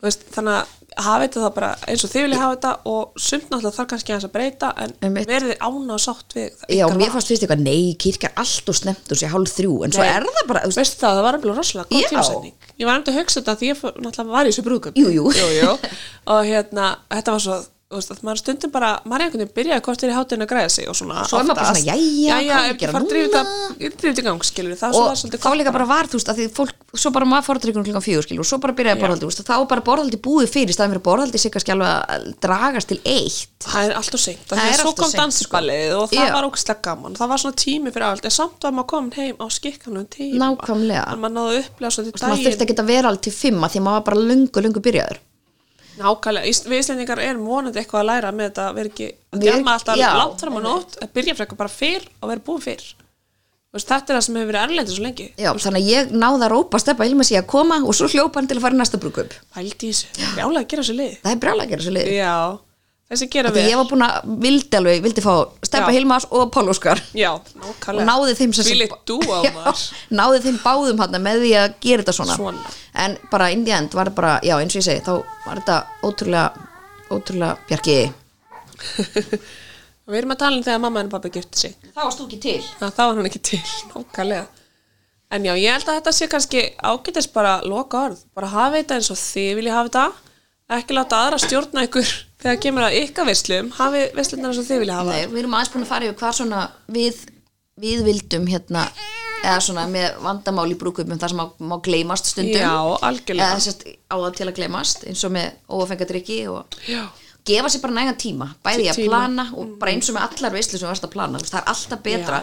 þú veist, þannig að hafa þetta það bara eins og þið vilja hafa þetta og sumt náttúrulega þarf kannski aðeins að breyta en
Einmitt.
verðið án og sátt við
já,
ykkar
mér
val.
fannst fyrst eitthvað, nei, kirkjan allt og snemt og sé hálf þrjú, en svo
Nei.
er það bara, þú veist,
veist það, það var nefnilega rosalega góð
Já.
tímasetning ég var nefnilega að hugsa þetta því ég fór, náttúrulega var í þessu brúðgöp
Jú, jú.
og hérna, þetta var svo þú veist, að maður stundum bara, maður einhvern veginn byrjaði hvort þeir í hátíðin að græða sig og svona
Svo er maður bara
oftast,
svona, jæja, hvað á ég að
ef
gera
ég fara að
núna?
drífa þetta drífa þetta í gang, skilur það er svo það er
og
svolítið
þá líka bara var þú veist að því fólk, svo bara maður fordrykkunum um klukkan fjögur skilur og svo bara byrjaði borðaldi, þú veist, þá var bara borðaldi búið fyrir staðan fyrir að borðaldi sig kannski alveg að dragast til eitt
það er alltaf seint,
Það
það
er
er svo
alltof
kom
seint, sko.
dansballið og það
Já.
var ógstlega gaman, það var svona tími fyrir allt en samt var maður komin heim á skikkanum tíma
Nákvæmlega.
en maður náðu upplega svo til
maður þurfti
daginn
ekki að vera alveg til fimm að því maður var bara lungu, lungu byrjaður
nákvæmlega, Ís- við Íslendingar erum vonandi eitthvað að læra með þetta að vera ekki að
Við-
djama alltaf
já,
langt fram á nótt að byrja frekar bara fyrr og vera búin fyrr Þú veist, þetta er það sem hefur verið erlendið svo lengi
Já, þannig að ég náði að rópa steppa Hilmar sér að koma og svo hljópa hann til að fara í næsta brúkup
pældi í þessu, brjálega að gera þessu lið
það er brjálega að gera svo liði
já, þessi gera
því
við
ég var búin að, vildi alveg, vildi fá steppa
Já.
Hilmars og Pál Óskar
já,
og
nákvæmlega
náði þeim sem
Hvílíkt dúo,
Já,
maður.
náði þeim báðum hann með því að gera þetta svona.
Svona.
en bara inn í end var bara, já eins og ég segi þá var þetta ótrúlega ótrúlega bjargi
við erum að tala um þegar mamma en pappi gifti sig
þá varst þú ekki til
það, það var hann ekki til, nákvæmlega en já, ég held að þetta sé kannski ágætis bara loka orð, bara hafa þetta eins og þið vilja hafa þetta ekki láta aðra stjórna ykkur þegar kemur að ykkar veislum, hafi veislunar eins og þið vilja hafa
Nei, við erum aðeins búin að fara yfir hvað svona við, við vildum hérna eða svona með vandamál í brúkupum þar sem má, má gleymast stundum
Já, algjörlega.
eða sérst á það til að gleymast eins og með óafengadrykki og
Já,
gefa sér bara nægan tíma bæði í að
Tíma. Mm.
plana og bara eins og með allar veislu sem þú varst að plana, þú veist, það er alltaf betra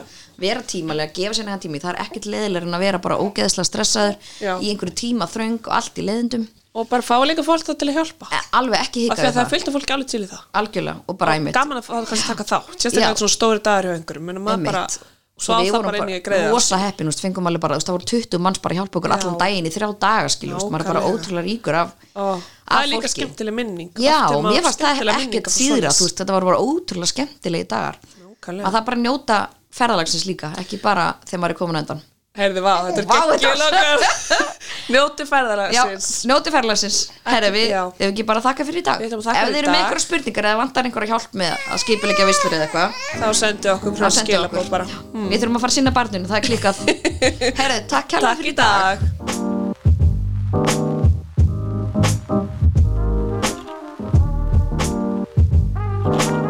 vera tímalega, gefa sér nægan tími, það er ekkert leðilegur en að vera bara ógeðslega stressaður
Já.
í einhverju tíma þröng og allt í leðindum
og bara fá líka fólk það til að hjálpa af
alveg ekki
því
hika
að
við
það
það,
fylgta fólki alveg til í það
algjörlega og bara æmitt
gaman að það kannski taka þá,
Já.
sérstaklega ekki svona stóri dagur hjá einhverjum, menn maður bara svo á
við
það
vorum
bara inn í að
bara
greiða
rosa heppin, þú veist, fengum alveg bara, þú veist, það voru 20 manns bara að hjálpa okkur allan daginn í þrjá daga, skil, þú veist, maður er bara
Nákvæmlega.
ótrúlega ríkur af,
Ó, það
af
er líka skemmtileg minning
Já,
Oft er maður
mér fannst það
skemmtilega minningar
ekkert
frá
síðra,
svoleiðis.
þú veist, þetta voru bara ótrúlega skemmtilegi dagar.
Nákvæmlega.
Að það bara njóta ferðalagsins líka, ekki bara þegar maður er komin á undan.
Heyrðu, vá, þetta
Vá,
er
þetta-
geggjul okkar Njóti
Já,
ferðalagsins
njóti ferðalagsins, herri, við
já.
ef ekki bara þakka fyrir í dag.
Við ætlum að þakka
Ef þið
fyrir í
eru með
dag.
einhverja spurningar eða vantar einhverja hjálp með að skipilegja visslur eða eitthvað,
Þá sendu okkur frá
þá sendu okkur.
skilabóð bara
Við þurfum að fara að sinna barninu, það er klikkað. herri, takk kærlega
Takk
fyrir
í dag
Thank